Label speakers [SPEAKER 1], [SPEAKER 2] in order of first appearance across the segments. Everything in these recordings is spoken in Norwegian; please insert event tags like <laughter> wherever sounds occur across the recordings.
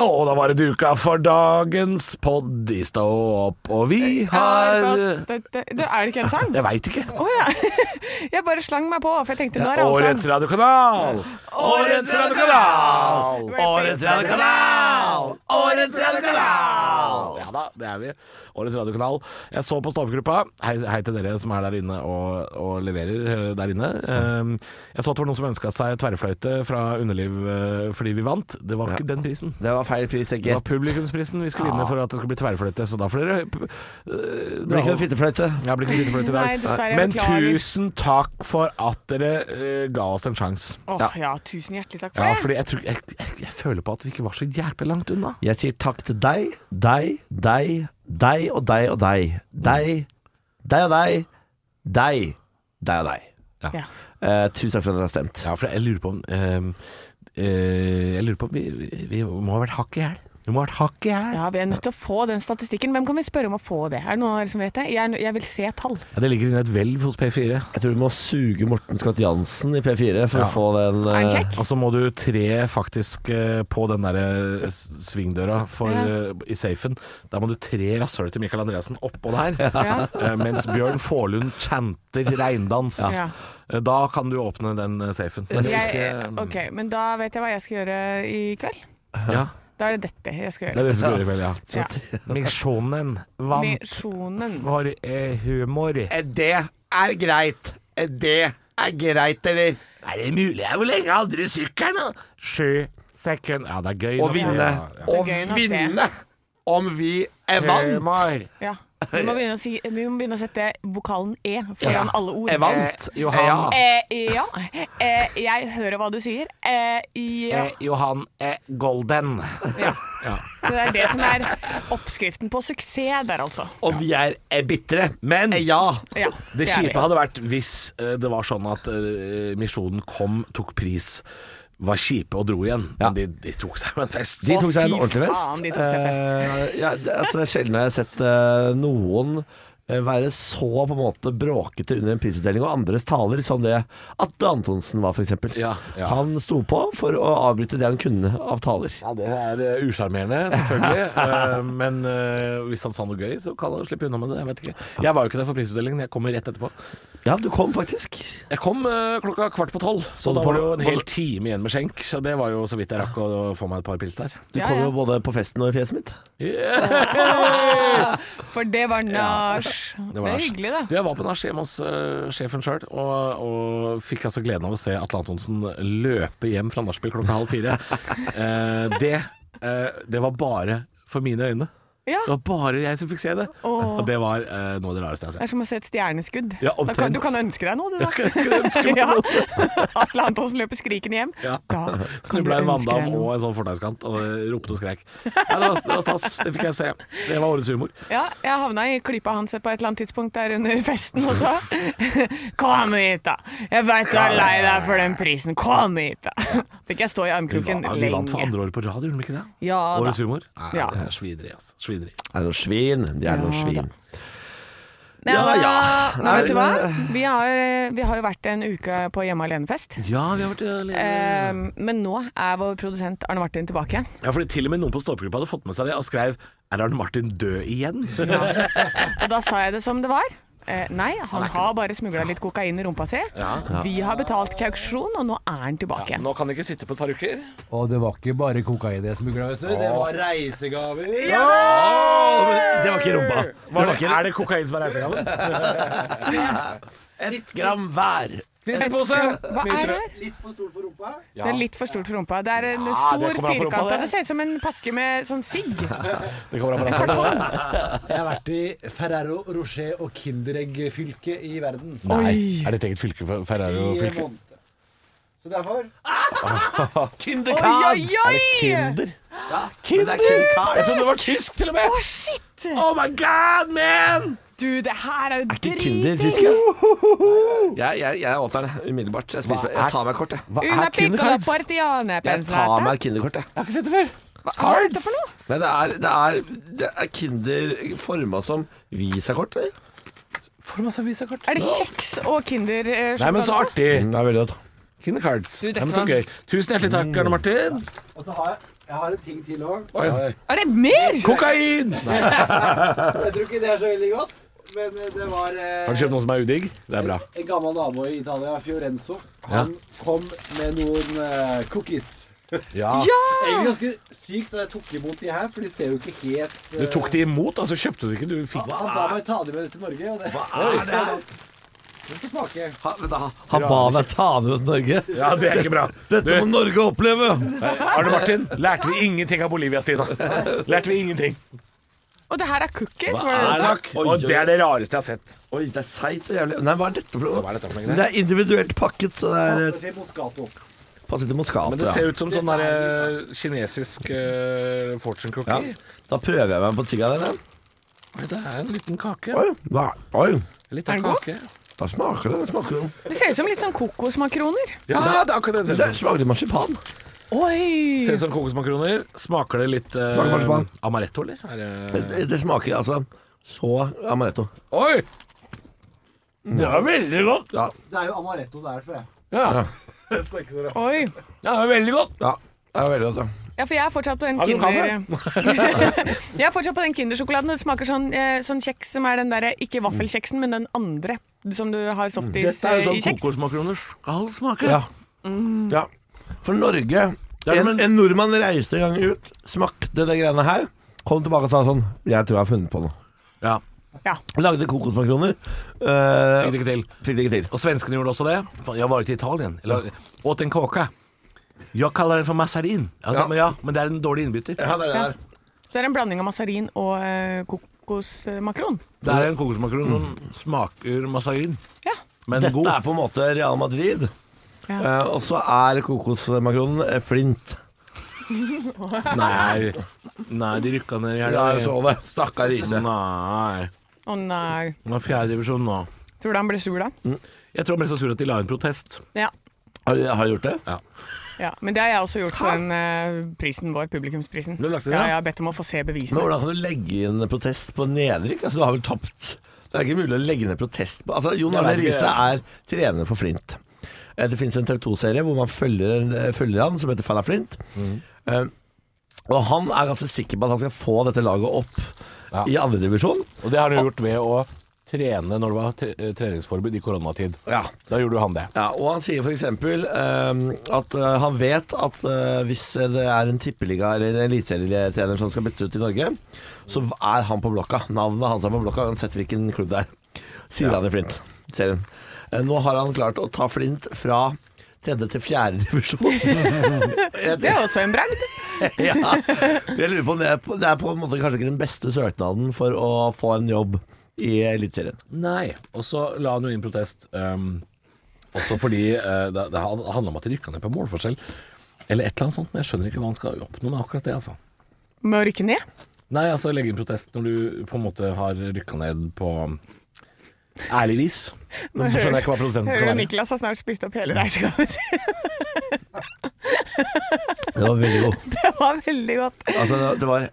[SPEAKER 1] Og da var det duka for dagens pod i Stå opp, og vi har
[SPEAKER 2] det, det, det, er det ikke en sang?
[SPEAKER 1] Jeg veit ikke.
[SPEAKER 2] Å ja. <laughs> Jeg bare slang meg på, for jeg tenkte nå er det
[SPEAKER 1] Årets
[SPEAKER 2] allsang.
[SPEAKER 1] radiokanal! Årets radiokanal! Årets radiokanal! Årets radiokanal! Ja da, det er vi. Årets radiokanal. Jeg så på Stå-opp-gruppa. Hei, hei til dere som er der inne og, og leverer eh, der inne. Ehm, Jeg så at det var noen som ønska seg tverrfløyte fra Underliv eh, fordi vi vant. Det var ikke den prisen.
[SPEAKER 3] Det var feil pris, tenker
[SPEAKER 1] Det var
[SPEAKER 3] jeg.
[SPEAKER 1] publikumsprisen vi skulle vinne for at det skulle bli tverrfløyte, så da får dere øh,
[SPEAKER 3] Det blir ikke noen fittefløyte.
[SPEAKER 1] Ja, det blir ikke noe tverrfløyte i
[SPEAKER 2] Nei,
[SPEAKER 1] dag.
[SPEAKER 2] dessverre, jeg
[SPEAKER 1] Men
[SPEAKER 2] beklager.
[SPEAKER 1] tusen takk for at dere øh, ga oss en sjanse.
[SPEAKER 2] Åh, ja, tusen hjertelig takk for
[SPEAKER 1] Ja,
[SPEAKER 2] det.
[SPEAKER 1] fordi jeg, tror, jeg, jeg, jeg føler på at vi ikke var så jævlig langt unna.
[SPEAKER 3] Jeg sier takk til deg, deg, deg, deg og deg og deg. Deg, deg og deg, deg, deg og deg.
[SPEAKER 2] Ja.
[SPEAKER 3] Eh, tusen takk for at dere har stemt.
[SPEAKER 1] Ja, for jeg lurer på om øh, øh, Jeg lurer på om vi, vi- vi må ha vært hakk i hæl. Vi må ha vært hakk i hæl. Ja.
[SPEAKER 2] Ja, Vi er nødt til å få den statistikken. Hvem kan vi spørre om å få det? Er det noen av dere som vet det? Jeg, er nø- jeg vil se tall.
[SPEAKER 1] det ligger inne et hvelv hos P4.
[SPEAKER 3] Jeg tror du må suge Morten Skatt Jansen i P4 for
[SPEAKER 1] Ja.
[SPEAKER 3] å få den
[SPEAKER 2] Er den
[SPEAKER 3] eh,
[SPEAKER 2] kjekk?
[SPEAKER 1] Og så må du tre faktisk eh, på den derre svingdøra for, eh,
[SPEAKER 2] Ja.
[SPEAKER 1] i safen. Der må du tre rasshølet til Michael Andreassen oppå der.
[SPEAKER 2] Ja.
[SPEAKER 1] Eh, Mens Bjørn Forlund chanter regndans.
[SPEAKER 2] Ja.
[SPEAKER 1] Eh, Da kan du åpne den eh, safen. Men
[SPEAKER 2] Jeg,
[SPEAKER 1] ikke-
[SPEAKER 2] ok, Men da vet jeg hva jeg skal gjøre i kveld.
[SPEAKER 1] ja,
[SPEAKER 2] Da er det dette jeg skal
[SPEAKER 1] det er
[SPEAKER 2] gjøre.
[SPEAKER 1] det som går i kveld, ja.
[SPEAKER 2] Ja.
[SPEAKER 1] Misjonen vant
[SPEAKER 2] Misjonen.
[SPEAKER 1] for eh, humor. Er
[SPEAKER 3] Det er greit. Det er greit, eller?
[SPEAKER 1] det mulig? Hvor lenge hadde du sykkelen? da? Sju sekunder. Ja, det er gøy. nok, ja, ja.
[SPEAKER 2] er gøy nok, det. vinne
[SPEAKER 3] om vi er
[SPEAKER 1] Humor.
[SPEAKER 3] Eh,
[SPEAKER 2] Ja. Vi må begynne å, si, vi må begynne å sette vokalen E foran alle ord.
[SPEAKER 3] vant.
[SPEAKER 1] Eh, Johan.
[SPEAKER 3] Ja.
[SPEAKER 2] Eh, ja. Eh, jeg hører hva du sier. Eh, ja.
[SPEAKER 1] Eh, Johan eh, Golden.
[SPEAKER 2] ja. Så det er det som er oppskriften på suksess der, altså.
[SPEAKER 3] Og vi er eh, bitre.
[SPEAKER 1] Men
[SPEAKER 3] Eh, Ja.
[SPEAKER 2] Ja,
[SPEAKER 1] Det
[SPEAKER 2] er
[SPEAKER 1] kjipe hadde vært hvis eh, det var sånn at eh, Misjonen kom, tok pris, var kjipe og dro igjen.
[SPEAKER 3] Ja.
[SPEAKER 1] Men de, de tok seg jo en fest.
[SPEAKER 3] De tok seg en
[SPEAKER 2] fy
[SPEAKER 3] ordentlig fest.
[SPEAKER 2] faen, de tok seg fest.
[SPEAKER 3] Eh, ja, det, altså, det er sjelden jeg har sett eh, noen eh, være så på en måte bråkete under en prisutdeling og andres taler som det Atle Antonsen var, f.eks.
[SPEAKER 1] Ja, ja.
[SPEAKER 3] Han sto på for å avbryte det han kunne av taler.
[SPEAKER 1] Ja, det er eh, usjarmerende, selvfølgelig.
[SPEAKER 3] <laughs>
[SPEAKER 1] Eh, men eh, hvis han sa noe gøy, så kan han slippe unna med det. Jeg vet ikke. Jeg var jo ikke der for prisutdelingen, jeg kommer rett etterpå.
[SPEAKER 3] Ja, du kom faktisk.
[SPEAKER 1] Jeg kom eh, klokka kvart på tolv, så
[SPEAKER 3] Var
[SPEAKER 1] da
[SPEAKER 3] du på-
[SPEAKER 1] var det jo en
[SPEAKER 3] var
[SPEAKER 1] hel
[SPEAKER 3] du-
[SPEAKER 1] time igjen med skjenk. Så det var jo så vidt jeg rakk å å få meg et par pils der.
[SPEAKER 3] Du
[SPEAKER 2] Ja,
[SPEAKER 3] kom
[SPEAKER 2] ja.
[SPEAKER 3] jo både på festen og i fjeset mitt.
[SPEAKER 2] <laughs> For det var nach.
[SPEAKER 1] Det
[SPEAKER 2] Det,
[SPEAKER 1] var
[SPEAKER 2] er
[SPEAKER 1] nach.
[SPEAKER 2] hyggelig, da.
[SPEAKER 1] Du, jeg var på nach hjemme hos eh, sjefen sjøl, og, og fikk altså gleden av å se Atle Antonsen løpe hjem fra nachspiel klokka halv
[SPEAKER 2] <laughs>
[SPEAKER 1] fire. Eh, det, eh, det var bare for mine øyne.
[SPEAKER 2] Ja.
[SPEAKER 1] Det var bare jeg som fikk se det.
[SPEAKER 2] Åh.
[SPEAKER 1] Og det var eh, noe av det rareste jeg har
[SPEAKER 2] Det
[SPEAKER 1] sett.
[SPEAKER 2] er som å se et stjerneskudd.
[SPEAKER 1] Ja,
[SPEAKER 2] Da kan,
[SPEAKER 1] omtrent.
[SPEAKER 2] du kan ønske deg noe, du, da.
[SPEAKER 1] <laughs> Jeg kunne ønske meg noe.
[SPEAKER 2] Ja. <laughs> Atle Antonsen løper skrikende hjem.
[SPEAKER 1] Ja.
[SPEAKER 2] Da
[SPEAKER 1] <laughs>
[SPEAKER 2] kan du
[SPEAKER 1] Snubla i en
[SPEAKER 2] ønske deg
[SPEAKER 1] vanndam og
[SPEAKER 2] noe.
[SPEAKER 1] en sånn fortauskant og eh, ropte og skrek. Ja, det, var, det var stas, det fikk jeg se. Det var årets humor.
[SPEAKER 2] Ja, jeg havna i klypa hans på et eller annet tidspunkt der under festen og sa <laughs> Kom hit, da! Jeg veit du er lei deg for den prisen. Kom hit, da! <laughs> Fikk jeg stå i
[SPEAKER 1] Vi
[SPEAKER 2] armkroken
[SPEAKER 1] vant, vi vant for
[SPEAKER 2] lenge.
[SPEAKER 1] andre året på rad, gjorde vi ikke det?
[SPEAKER 2] Ja da.
[SPEAKER 1] Årets humor? Nei,
[SPEAKER 2] Ja.
[SPEAKER 1] det er svineri, altså. Svineri.
[SPEAKER 3] Er det noen svin? De er noen svin.
[SPEAKER 2] Nei,
[SPEAKER 3] Ja,
[SPEAKER 2] da-
[SPEAKER 3] ja.
[SPEAKER 2] Men
[SPEAKER 3] Nei,
[SPEAKER 2] vet du hva?
[SPEAKER 3] men-
[SPEAKER 2] Vi har, eh, vi har jo vært en uke på hjemme alene-fest.
[SPEAKER 1] Ja, vi har vært eh,
[SPEAKER 2] Eh, men nå er vår produsent Arne Martin tilbake igjen.
[SPEAKER 1] Ja, fordi til og med noen på ståpegruppa hadde fått med seg det og skrev Er Arne Martin død igjen?
[SPEAKER 2] Og da sa jeg det som det var. Eh, nei, han har bare smugla litt kokain i rumpa si. Vi har betalt kauksjon, og nå er han tilbake igjen.
[SPEAKER 1] Nå kan de ikke sitte på et par uker.
[SPEAKER 4] Og det var ikke bare kokain jeg smugla, vet du. Det var reisegaver.
[SPEAKER 3] Å, men det var ikke i rumpa.
[SPEAKER 1] Var det, er det kokain som er reisegaven?
[SPEAKER 3] Ett gram hver.
[SPEAKER 1] Filterpose!
[SPEAKER 2] Hva er det her?
[SPEAKER 4] Litt for stor for rumpa.
[SPEAKER 2] Det er litt for stort for rumpa. Det er en
[SPEAKER 1] det
[SPEAKER 2] stor
[SPEAKER 1] kommer an på rumpa,
[SPEAKER 2] firkant.
[SPEAKER 1] det.
[SPEAKER 2] Det ser ut som en pakke med sånn sigg.
[SPEAKER 1] Det kommer an på rasshølet.
[SPEAKER 2] Kartong.
[SPEAKER 4] Jeg har vært i Ferrero Rocher og Kinderegg-fylket i verden.
[SPEAKER 1] Nei, er dette eget fylke? for-
[SPEAKER 4] I
[SPEAKER 1] Ferrero
[SPEAKER 4] en
[SPEAKER 1] fylke?
[SPEAKER 4] måned. Så derfor
[SPEAKER 2] Oi, oi,
[SPEAKER 3] Er det
[SPEAKER 2] oi!
[SPEAKER 3] Kinder? Kinder! Jeg trodde det var tysk, til og med.
[SPEAKER 2] Å, shit!
[SPEAKER 3] Oh my god, man!
[SPEAKER 2] Du, det her er jo
[SPEAKER 3] Ikke Kinder
[SPEAKER 2] dritdigg.
[SPEAKER 3] fiske? Jeg, jeg, jeg åpner det umiddelbart. Jeg, spiser, jeg tar meg kort, jeg.
[SPEAKER 1] Hva
[SPEAKER 2] Una
[SPEAKER 1] er
[SPEAKER 2] piccola
[SPEAKER 1] kindercards? Jeg
[SPEAKER 2] partiane
[SPEAKER 3] Jeg tar meg et Kinderkort, jeg.
[SPEAKER 1] har ikke sett det før.
[SPEAKER 2] Hva er dette for noe?
[SPEAKER 3] Nei, det er, det er, det er Kinder forma som visakort, eller?
[SPEAKER 1] Får masse visakort.
[SPEAKER 2] Er det kjeks og Kinder? eh,
[SPEAKER 1] Nei, men så
[SPEAKER 2] sjokolade?
[SPEAKER 1] artig.
[SPEAKER 3] Det er veldig godt.
[SPEAKER 1] Kindercards.
[SPEAKER 2] Du, dette
[SPEAKER 1] Ja, men så
[SPEAKER 2] var-
[SPEAKER 1] gøy. Tusen hjertelig takk, Arne Martin.
[SPEAKER 4] Og så har jeg, jeg har en ting til òg.
[SPEAKER 1] Oi, oi.
[SPEAKER 2] Er det mer?
[SPEAKER 1] Kokain!
[SPEAKER 4] Jeg tror ikke det er så veldig godt, men eh, det var eh,
[SPEAKER 1] Har du kjøpt noe som er udigg? Det er bra.
[SPEAKER 4] En gammel nabo i Italia, Fiorenzo, han kom med noen eh, cookies.
[SPEAKER 1] Ja.
[SPEAKER 4] Egentlig ganske sykt da jeg tok imot de her, for de ser jo ikke helt eh,
[SPEAKER 1] Du tok de imot, altså kjøpte du ikke? Du fikk
[SPEAKER 4] Han ba meg ta de med til Norge, og det
[SPEAKER 1] Hva er det her?
[SPEAKER 4] Du får smake.
[SPEAKER 3] Han ba meg ta med til Norge.
[SPEAKER 1] Ja, det er ikke bra.
[SPEAKER 3] Dette må Norge oppleve!
[SPEAKER 1] Arne Martin, lærte vi ingenting av Bolivia, <laughs> Stina. Lærte vi ingenting.
[SPEAKER 2] Og det her er cookies, var det
[SPEAKER 3] er
[SPEAKER 2] det du sa?
[SPEAKER 3] det?
[SPEAKER 1] Og det er det rareste jeg har sett.
[SPEAKER 3] Oi, det er seigt og jævlig Nei, hva er dette for noe?
[SPEAKER 1] Hva er dette for noe
[SPEAKER 3] Men Det er individuelt pakket, så det er eh,
[SPEAKER 4] Passer til Moscato.
[SPEAKER 3] passer til Moscato.
[SPEAKER 1] Men det ser
[SPEAKER 3] ja.
[SPEAKER 1] ut som sånn der, eh, kinesisk eh, fortune
[SPEAKER 3] ja.
[SPEAKER 1] cookie.
[SPEAKER 3] Da prøver jeg meg på tygga der. ja.
[SPEAKER 1] Oi, Det er en liten kake.
[SPEAKER 3] Oi, hva? Oi,
[SPEAKER 1] Litt av
[SPEAKER 2] Er den god?
[SPEAKER 1] kake.
[SPEAKER 3] hva smaker det? Hva smaker det?
[SPEAKER 2] Det ser ut som litt sånn kokosmakroner.
[SPEAKER 1] Ja, Ah, det er akkurat det.
[SPEAKER 3] Det smaker litt marsipan.
[SPEAKER 2] Oi!
[SPEAKER 1] Ser ut som kokosmakroner. Smaker det litt eh,
[SPEAKER 3] Smaker marsipan.
[SPEAKER 1] amaretto, eller? Er det
[SPEAKER 3] Det, det smaker altså så amaretto.
[SPEAKER 1] Oi! Det er veldig godt.
[SPEAKER 3] Ja.
[SPEAKER 4] Det er jo amaretto der, for jeg.
[SPEAKER 1] Ja,
[SPEAKER 2] Oi.
[SPEAKER 1] det er veldig godt.
[SPEAKER 3] ja. Det er veldig godt, ja.
[SPEAKER 2] Ja, for jeg er fortsatt på den
[SPEAKER 1] Har du
[SPEAKER 2] Kinder... <laughs> jeg er fortsatt på den Kindersjokoladen. og Det smaker sånn, eh, sånn kjeks som er den derre Ikke vaffelkjeksen, men den andre som du har softis
[SPEAKER 1] Dette er
[SPEAKER 2] eh,
[SPEAKER 1] jo
[SPEAKER 2] i
[SPEAKER 1] sånn
[SPEAKER 2] kjeks.
[SPEAKER 1] kokosmakroner skal smake.
[SPEAKER 3] Ja. ja. For Norge en,
[SPEAKER 1] men-
[SPEAKER 3] en nordmann reiste en gang ut, smakte det greiene her, kom tilbake og sa sånn Jeg tror jeg har funnet på noe.
[SPEAKER 1] Ja.
[SPEAKER 2] Ja.
[SPEAKER 3] Lagde kokosmakroner. eh,
[SPEAKER 1] Fikk det ikke til.
[SPEAKER 3] fikk det ikke til.
[SPEAKER 1] Og svenskene gjorde også det. Fan, Jeg har vært i Italia. Eller åt en kåke. Jeg kaller den for massarin. Ja,
[SPEAKER 3] Ja.
[SPEAKER 1] Men, ja, men det er en dårlig innbytter.
[SPEAKER 3] Ja, det er det
[SPEAKER 2] Ja.
[SPEAKER 3] der.
[SPEAKER 2] Så det er en blanding av mazarin og eh, kokosmakron.
[SPEAKER 1] Det er en kokosmakron som smaker massarin,
[SPEAKER 2] Ja.
[SPEAKER 1] men
[SPEAKER 3] Dette
[SPEAKER 1] god.
[SPEAKER 3] er på en måte Real Madrid.
[SPEAKER 2] Ja.
[SPEAKER 3] Eh, og så er kokosmakronen eh, flint.
[SPEAKER 1] Nei. Nei, de rykka ned i
[SPEAKER 3] Ja,
[SPEAKER 1] helga.
[SPEAKER 3] jeg så det. Mm. Stakkar Riise.
[SPEAKER 1] Nei.
[SPEAKER 2] Å nei.
[SPEAKER 1] Det var fjerdedivisjon nå.
[SPEAKER 2] Tror du han ble sur da?
[SPEAKER 1] Mm. Jeg tror han ble så sur at de la en protest.
[SPEAKER 2] Ja.
[SPEAKER 3] Har, har du gjort det?
[SPEAKER 2] ja. Men det har jeg også gjort på den eh, prisen vår, publikumsprisen.
[SPEAKER 1] Du har lagt den,
[SPEAKER 2] ja,
[SPEAKER 1] ja.
[SPEAKER 2] jeg har bedt om å få se
[SPEAKER 3] Men
[SPEAKER 2] bevisene.
[SPEAKER 3] hvordan kan du legge inn protest på nedrykk? Altså, du har vel tapt. Det er ikke mulig å legge ned protest på Altså, Jon
[SPEAKER 1] Jeg
[SPEAKER 3] Arne
[SPEAKER 1] vet ikke.
[SPEAKER 3] Riise er trener for Flint. Eh, Det fins en TV 2-serie hvor man følger, eh, følger han, som heter Fan av Flint. Eh, og han er ganske sikker på at han skal få dette laget opp
[SPEAKER 1] Ja.
[SPEAKER 3] i andredivisjon.
[SPEAKER 1] Og det har han jo gjort ved å trene når det var tre- eh, treningsforbud i koronatid.
[SPEAKER 3] Ja.
[SPEAKER 1] Da gjorde jo han det.
[SPEAKER 3] Ja, og han sier f.eks. Um, at eh, han vet at eh, hvis det er en tippeliga- eller en eliteserietrener som skal bytte ut i Norge, så er han på blokka. Navnet hans er på blokka, uansett hvilken klubb det er. Sier han i Flint. Serien. Eh, nå har han klart å ta Flint fra tredje til fjerde <laughs> divisjon.
[SPEAKER 2] <laughs> Det er også en bragd.
[SPEAKER 3] <laughs> ja. Jeg lurer på om det er på, det er på en måte kanskje ikke den beste søknaden for å få en jobb i Eliteserien.
[SPEAKER 1] Nei. Og så la han jo inn protest. ehm, også fordi eh, det, det handla om at de rykka ned på målforskjell. Eller et eller annet sånt. Men jeg skjønner ikke hva han skal oppnå med akkurat det, altså.
[SPEAKER 2] Med å rykke ned.
[SPEAKER 1] Nei, altså legge inn protest når du på en måte har rykka ned på ærlig vis. Men så skjønner jeg ikke hva prosenten skal
[SPEAKER 2] Hører du,
[SPEAKER 1] være.
[SPEAKER 2] Niklas har snart spist opp hele reisegaven sin.
[SPEAKER 3] Det var veldig god.
[SPEAKER 2] <laughs> Det var veldig godt.
[SPEAKER 3] Altså, det- det var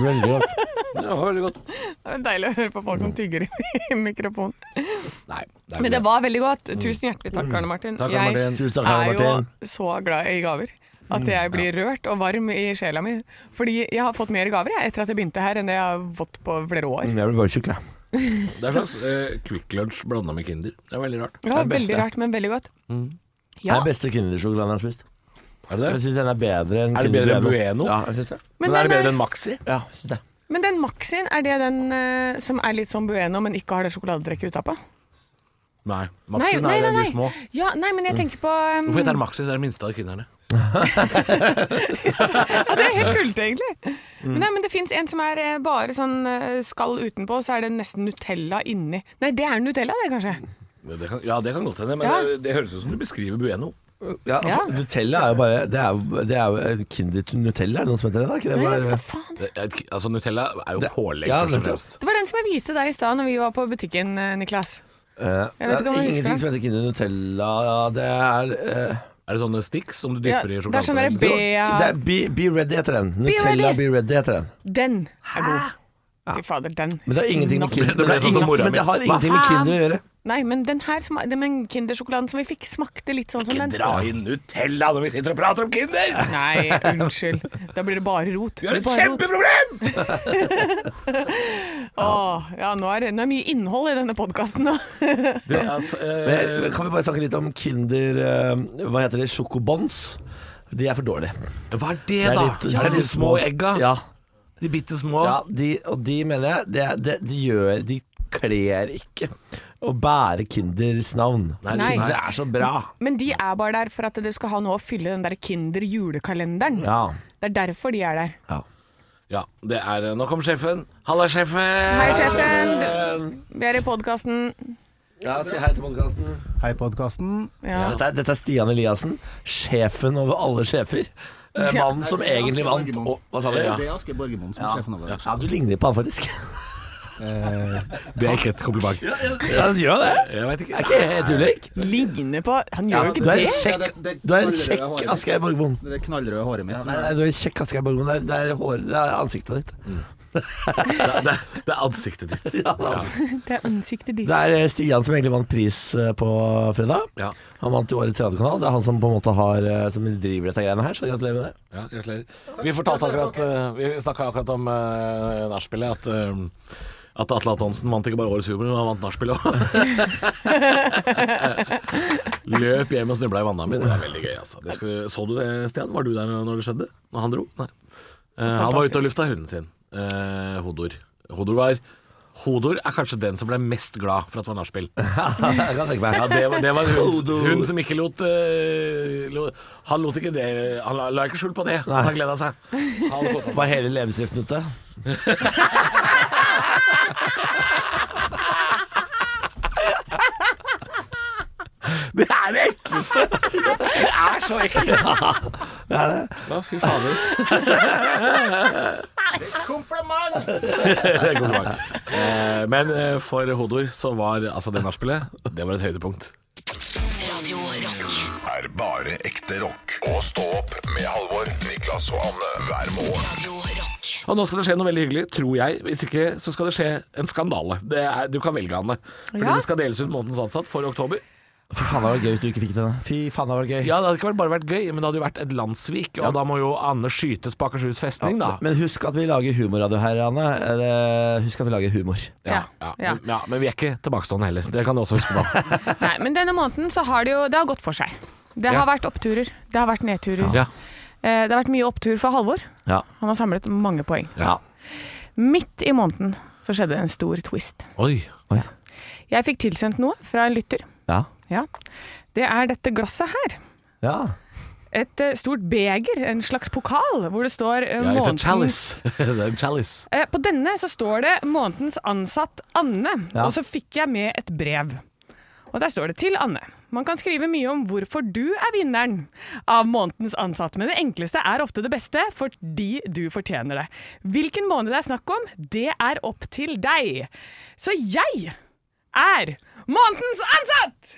[SPEAKER 3] Veldig godt.
[SPEAKER 1] Det var veldig godt.
[SPEAKER 2] Det er deilig å høre på folk som tygger i mikrofonen.
[SPEAKER 1] Nei, det er
[SPEAKER 2] Men
[SPEAKER 1] ikke
[SPEAKER 2] det var veldig godt. Tusen hjertelig takk, Arne Martin.
[SPEAKER 1] Takk, Arne Martin.
[SPEAKER 3] Tusen <laughs> takk, Arne
[SPEAKER 2] Jeg er
[SPEAKER 3] Martin.
[SPEAKER 2] jo så glad i gaver at jeg blir rørt og varm i sjela mi. Fordi jeg har fått mer gaver jeg, etter at jeg begynte her, enn det jeg har fått på flere år.
[SPEAKER 3] Mm, Jeg blir bare tjukk, jeg.
[SPEAKER 1] Det er en slags eh, Quick Lunch blanda med Kinder. Det er veldig rart.
[SPEAKER 2] Det var veldig rart, men veldig godt.
[SPEAKER 3] Det
[SPEAKER 2] Ja,
[SPEAKER 3] er den beste kindersjokoladen jeg har spist.
[SPEAKER 1] Er det
[SPEAKER 3] Jeg syns den er bedre enn
[SPEAKER 1] Er det bedre enn
[SPEAKER 3] Kinder
[SPEAKER 1] Bueno?
[SPEAKER 3] Ja, jeg syns det.
[SPEAKER 1] Men, er
[SPEAKER 2] Men
[SPEAKER 1] det
[SPEAKER 2] den er-
[SPEAKER 1] bedre enn Maxi?
[SPEAKER 3] Ja, jeg synes det.
[SPEAKER 2] Men den Maxien, er det den eh, som er litt sånn Bueno, men ikke har det sjokoladetrekket utapå?
[SPEAKER 1] Nei.
[SPEAKER 2] Nei,
[SPEAKER 1] Maxi
[SPEAKER 2] nei,
[SPEAKER 1] er
[SPEAKER 2] nei,
[SPEAKER 1] de
[SPEAKER 2] nei.
[SPEAKER 1] små. Mm.
[SPEAKER 2] Ja, nei, men jeg tenker på
[SPEAKER 1] <laughs>
[SPEAKER 2] um,
[SPEAKER 1] Hvorfor heter den Maxi? Det er den minste av kinderne.
[SPEAKER 2] Ja, det er helt tullete,
[SPEAKER 1] <laughs>
[SPEAKER 2] egentlig.
[SPEAKER 1] Mm.
[SPEAKER 2] Men, nei, men det fins en som er eh, bare sånn eh, skall utenpå, så er det nesten Nutella inni. Nei, det er Nutella, det, kanskje.
[SPEAKER 1] Det kan, ja, det kan godt hende, men
[SPEAKER 2] Ja.
[SPEAKER 1] det, det høres ut som du beskriver Bueno.
[SPEAKER 3] Ja, altså,
[SPEAKER 2] Ja.
[SPEAKER 3] Nutella er jo bare Det er jo, det er jo Kinder til Nutella, er det noe som heter det? da? Ikke det
[SPEAKER 2] Nei,
[SPEAKER 3] bare
[SPEAKER 2] hva faen?
[SPEAKER 1] Det, er- altså, Nutella er jo
[SPEAKER 3] Det-
[SPEAKER 1] pålegg,
[SPEAKER 3] ja,
[SPEAKER 1] først og
[SPEAKER 3] nettopp.
[SPEAKER 1] fremst.
[SPEAKER 2] Det var den som jeg viste deg i stad når vi var på butikken, eh, Niklas.
[SPEAKER 3] Eh,
[SPEAKER 2] Jeg vet
[SPEAKER 3] Det
[SPEAKER 2] ikke om
[SPEAKER 3] er
[SPEAKER 2] jeg husker
[SPEAKER 3] ingenting
[SPEAKER 2] det.
[SPEAKER 3] som heter Kinder Nutella. Ja, det er eh,
[SPEAKER 1] Er det sånne sticks som du
[SPEAKER 2] Ja,
[SPEAKER 1] dypper i
[SPEAKER 2] det er sånn der
[SPEAKER 1] sjokoladepudding?
[SPEAKER 2] B-
[SPEAKER 3] Det er Be, Be Ready heter den. Nutella
[SPEAKER 2] Ready.
[SPEAKER 3] Be Ready heter den.
[SPEAKER 2] Den er god. Fy fader, den.
[SPEAKER 3] Men det har ingenting med
[SPEAKER 2] Nok-
[SPEAKER 3] Kinder
[SPEAKER 1] Det ble
[SPEAKER 3] men det er
[SPEAKER 1] sånn som
[SPEAKER 3] ingen-
[SPEAKER 1] mora
[SPEAKER 3] Men det
[SPEAKER 1] mi.
[SPEAKER 3] har ingenting med Kinder å gjøre.
[SPEAKER 2] Nei, men den her, sma- den- men Kindersjokoladen som vi fikk, smakte litt sånn som
[SPEAKER 1] Ikke
[SPEAKER 2] den.
[SPEAKER 1] dra inn Nutella når vi sitter og prater om Kinder!
[SPEAKER 2] Nei, unnskyld. Da blir det bare rot.
[SPEAKER 1] Vi har et
[SPEAKER 2] Bare rot.
[SPEAKER 1] kjempeproblem!
[SPEAKER 2] Åh, ja, nå er det nå er det mye innhold i denne podkasten.
[SPEAKER 1] Du, altså, eh, <laughs>
[SPEAKER 3] Men, kan vi bare snakke litt om Kinder eh, Hva heter det? Sjokobons? De er for dårlige.
[SPEAKER 1] hva er det,
[SPEAKER 3] Det er
[SPEAKER 1] da?
[SPEAKER 3] litt-
[SPEAKER 1] Det er de små egga?
[SPEAKER 3] Ja,
[SPEAKER 1] De bitte små?
[SPEAKER 3] ja de, og de mener jeg det, det, De gjør De kler ikke å bære Kinders navn.
[SPEAKER 2] Nei.
[SPEAKER 3] Det er så bra.
[SPEAKER 2] Men de er bare der for at du skal ha noe å fylle den der Kinder-julekalenderen.
[SPEAKER 3] Ja.
[SPEAKER 2] Det er derfor de er der.
[SPEAKER 3] ja.
[SPEAKER 1] Ja, det er eh, Nå kommer sjefen. Halla, sjefen.
[SPEAKER 2] Hei, sjefen! Vi er i podkasten.
[SPEAKER 3] si hei til podkasten.
[SPEAKER 4] Hei, podkasten.
[SPEAKER 2] Ja.
[SPEAKER 3] Dette, er- dette er Stian Eliassen, sjefen over alle sjefer. Eh,
[SPEAKER 2] Ja.
[SPEAKER 3] Mannen som egentlig vant. Å, hva sa du?
[SPEAKER 5] Det
[SPEAKER 3] Ja.
[SPEAKER 5] er Aske Borgermoen som er sjefen over
[SPEAKER 3] ja, du ligner litt på han faktisk. <laughs>
[SPEAKER 4] Det er ikke et kompliment.
[SPEAKER 3] Ja, du gjør det. Jeg vet ikke. Er ikke jeg helt ulik?
[SPEAKER 2] Ligner på Han gjør jo
[SPEAKER 3] Du
[SPEAKER 2] ikke
[SPEAKER 3] er
[SPEAKER 2] det.
[SPEAKER 3] en kjekk, du er en kjekk Asgeir Borgmoen.
[SPEAKER 5] Det er knallrøde håret mitt. som
[SPEAKER 3] Nei, nei,
[SPEAKER 5] er-
[SPEAKER 3] du er en kjekk Asgeir Borgmoen. Det er, det er, hår, det er ansiktet ditt.
[SPEAKER 1] Det, det, det er ansiktet ditt.
[SPEAKER 3] <laughs> Ja, det, er ansiktet.
[SPEAKER 2] Det er ansiktet ditt.
[SPEAKER 3] det er eh, Stian som egentlig vant pris eh, på fredag.
[SPEAKER 1] Ja.
[SPEAKER 3] Han vant jo Årets radiokanal. Det er han som på en måte har eh, Som driver dette greiene her, så gratulerer med det.
[SPEAKER 1] Ja, gratulerer. Vi fortalte akkurat eh, Vi snakka akkurat om uh, nachspielet. At, eh, at Atle Antonsen vant ikke bare Årets humor, men han vant nachspiel òg. Løp hjem og snubla i vannet mitt. Det er veldig gøy, altså. Det skulle, så du det, Stian? Var du der når det skjedde? Når han dro? Nei. Eh, han var
[SPEAKER 2] Fantastisk.
[SPEAKER 1] ute og lufta hunden sin. Eh, Hodor. Hodor var Hodor er kanskje den som ble mest glad for at det var nachspiel.
[SPEAKER 3] Jeg kan <laughs> tenke meg.
[SPEAKER 1] Ja, det, var- det var en hund, hund som ikke lot, eh, lo- Han lot ikke det Han la, la ikke skjul på det. At han gleda seg. Han koset seg.
[SPEAKER 3] Var hele leppestiften ute? <laughs>
[SPEAKER 1] Det er det ekleste! Det er <laughs> så ekkelt.
[SPEAKER 3] Det er det.
[SPEAKER 1] Ja, fy <laughs> fader. <laughs> Kompliment! Kompliment. Eh, Men eh, for Hodor så var altså det nachspielet Det var et høydepunkt.
[SPEAKER 6] Radio Rock.
[SPEAKER 7] Er bare ekte rock. Og stå opp med Halvor, Niklas og Anne hver morgen.
[SPEAKER 6] Radio Rock.
[SPEAKER 1] Og nå skal det skje noe veldig hyggelig, tror jeg. Hvis ikke så skal det skje en skandale. Det er, du kan velge, Anne. Fordi
[SPEAKER 2] Ja.
[SPEAKER 1] det skal deles ut månedens ansatt for oktober.
[SPEAKER 3] Fy faen, det var gøy hvis du ikke fikk den. Fy faen, det var gøy.
[SPEAKER 1] Ja, det hadde ikke vært- bare vært gøy, men det hadde jo vært et landssvik, og da må jo Anne skytes på Akershus festning, da.
[SPEAKER 3] Men husk at vi lager humorradio her, Anne. Eh, Husk at vi lager humor.
[SPEAKER 2] Ja,
[SPEAKER 1] ja,
[SPEAKER 2] ja.
[SPEAKER 1] Men, ja, men vi er ikke tilbakestående heller. Det kan du også huske
[SPEAKER 3] <laughs>
[SPEAKER 1] på.
[SPEAKER 2] Nei, men denne måneden så har det jo Det har gått for seg. Det
[SPEAKER 1] Ja.
[SPEAKER 2] har vært oppturer. Det har vært nedturer.
[SPEAKER 1] Ja.
[SPEAKER 2] Eh, Det har vært mye opptur for Halvor.
[SPEAKER 3] Ja.
[SPEAKER 2] Han har samlet mange poeng.
[SPEAKER 1] Ja.
[SPEAKER 2] Midt i måneden så skjedde en stor twist.
[SPEAKER 1] Oi.
[SPEAKER 2] Jeg fikk tilsendt noe fra en lytter.
[SPEAKER 3] Ja.
[SPEAKER 2] Ja. Det er dette glasset her.
[SPEAKER 3] ja.
[SPEAKER 2] Et eh, stort beger, en slags pokal, hvor det står eh,
[SPEAKER 1] Ja, it's a
[SPEAKER 2] månedens
[SPEAKER 3] <laughs>
[SPEAKER 1] chalice. det er en chalice.
[SPEAKER 2] Eh, På denne så står det 'Månedens ansatt Anne',
[SPEAKER 3] Ja.
[SPEAKER 2] og så fikk jeg med et brev. Og der står det 'Til Anne'. Man kan skrive mye om hvorfor du er vinneren av månedens ansatt, men det enkleste er ofte det beste, fordi du fortjener det. Hvilken måned det er snakk om, det er opp til deg. Så jeg er månedens ansatt!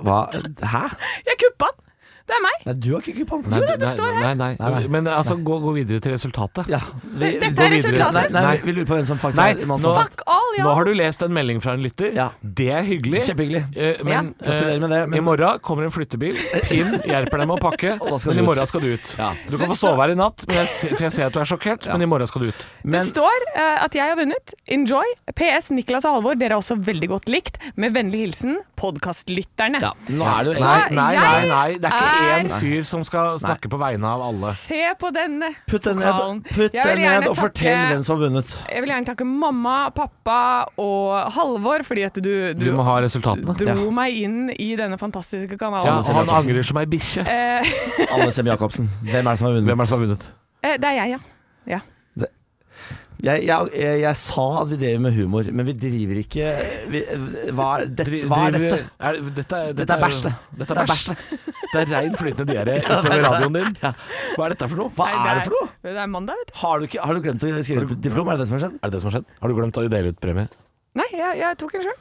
[SPEAKER 3] Hva? Hæ?
[SPEAKER 2] Jeg kuppa den. Det er meg.
[SPEAKER 3] Nei, du har ikke kupong.
[SPEAKER 1] Nei,
[SPEAKER 2] det står her.
[SPEAKER 1] nei, nei,
[SPEAKER 3] Nei, nei.
[SPEAKER 1] Men altså, gå, gå videre til resultatet.
[SPEAKER 3] Ja, vi,
[SPEAKER 2] Dette
[SPEAKER 3] gå
[SPEAKER 2] er
[SPEAKER 3] videre.
[SPEAKER 2] resultatet.
[SPEAKER 3] Nei, nei, vi lurer på hvem som faktisk
[SPEAKER 1] Nei,
[SPEAKER 3] er
[SPEAKER 1] nå-
[SPEAKER 3] mannsmann.
[SPEAKER 2] Fuck all, ja.
[SPEAKER 1] Nå har du lest en melding fra en lytter.
[SPEAKER 3] Ja.
[SPEAKER 1] Det er hyggelig.
[SPEAKER 3] Kjempehyggelig.
[SPEAKER 1] Eh, Men,
[SPEAKER 3] Ja. Gratulerer med det,
[SPEAKER 1] eh,
[SPEAKER 3] men-
[SPEAKER 1] i morgen kommer en flyttebil inn, hjelper deg med å
[SPEAKER 3] <laughs>
[SPEAKER 1] pakke,
[SPEAKER 3] Og da skal
[SPEAKER 1] men
[SPEAKER 3] du
[SPEAKER 1] i
[SPEAKER 3] ut.
[SPEAKER 1] morgen skal du ut. Du kan få sove her i natt, men jeg, ser- for jeg ser at du er sjokkert, men i morgen skal du ut.
[SPEAKER 2] Det står eh, at jeg har vunnet. Enjoy. PS Niklas og Halvor, dere er også veldig godt likt. Med vennlig hilsen podkastlytterne.
[SPEAKER 3] Ja, nå er du
[SPEAKER 1] Nei,
[SPEAKER 2] Så
[SPEAKER 1] nei, nei,
[SPEAKER 2] jeg
[SPEAKER 1] nei. Det er ikke
[SPEAKER 2] er-
[SPEAKER 1] én fyr som skal snakke på vegne av alle.
[SPEAKER 2] Se på denne
[SPEAKER 3] Putt den ned,
[SPEAKER 2] pokalen.
[SPEAKER 3] putt
[SPEAKER 2] Jeg vil
[SPEAKER 3] den
[SPEAKER 2] gjerne
[SPEAKER 3] ned og
[SPEAKER 2] takke-
[SPEAKER 3] fortell hvem som har vunnet.
[SPEAKER 2] Jeg vil gjerne takke mamma, pappa og Halvor, fordi at du, du,
[SPEAKER 1] Du må ha resultatene.
[SPEAKER 2] dro meg inn i denne fantastiske
[SPEAKER 1] Ja, altså,
[SPEAKER 2] kanalen.
[SPEAKER 1] og han angrer som ei bikkje.
[SPEAKER 3] Anne Sem Jacobsen. Hvem er det som har vunnet?
[SPEAKER 1] Hvem er det som har vunnet?
[SPEAKER 2] Eh, det er jeg, ja.
[SPEAKER 3] Jeg, jeg, jeg, jeg sa at vi driver med humor, men vi driver ikke vi, hva, er dette, hva er dette?
[SPEAKER 1] Er, dette, dette,
[SPEAKER 3] Dette er
[SPEAKER 1] <laughs>
[SPEAKER 3] bæsj, det.
[SPEAKER 1] Dette er bæsj. Det er rein flytende diaré utover radioen din. Hva er dette for noe?
[SPEAKER 3] Hva er det for noe?
[SPEAKER 2] Det er mandag, vet du.
[SPEAKER 3] Har du, ikke, har du glemt å skrive diplom? Er det det som har skjedd?
[SPEAKER 1] Er det det som har skjedd? Har du glemt å dele ut premie?
[SPEAKER 2] Nei, jeg, jeg tok en sjøl.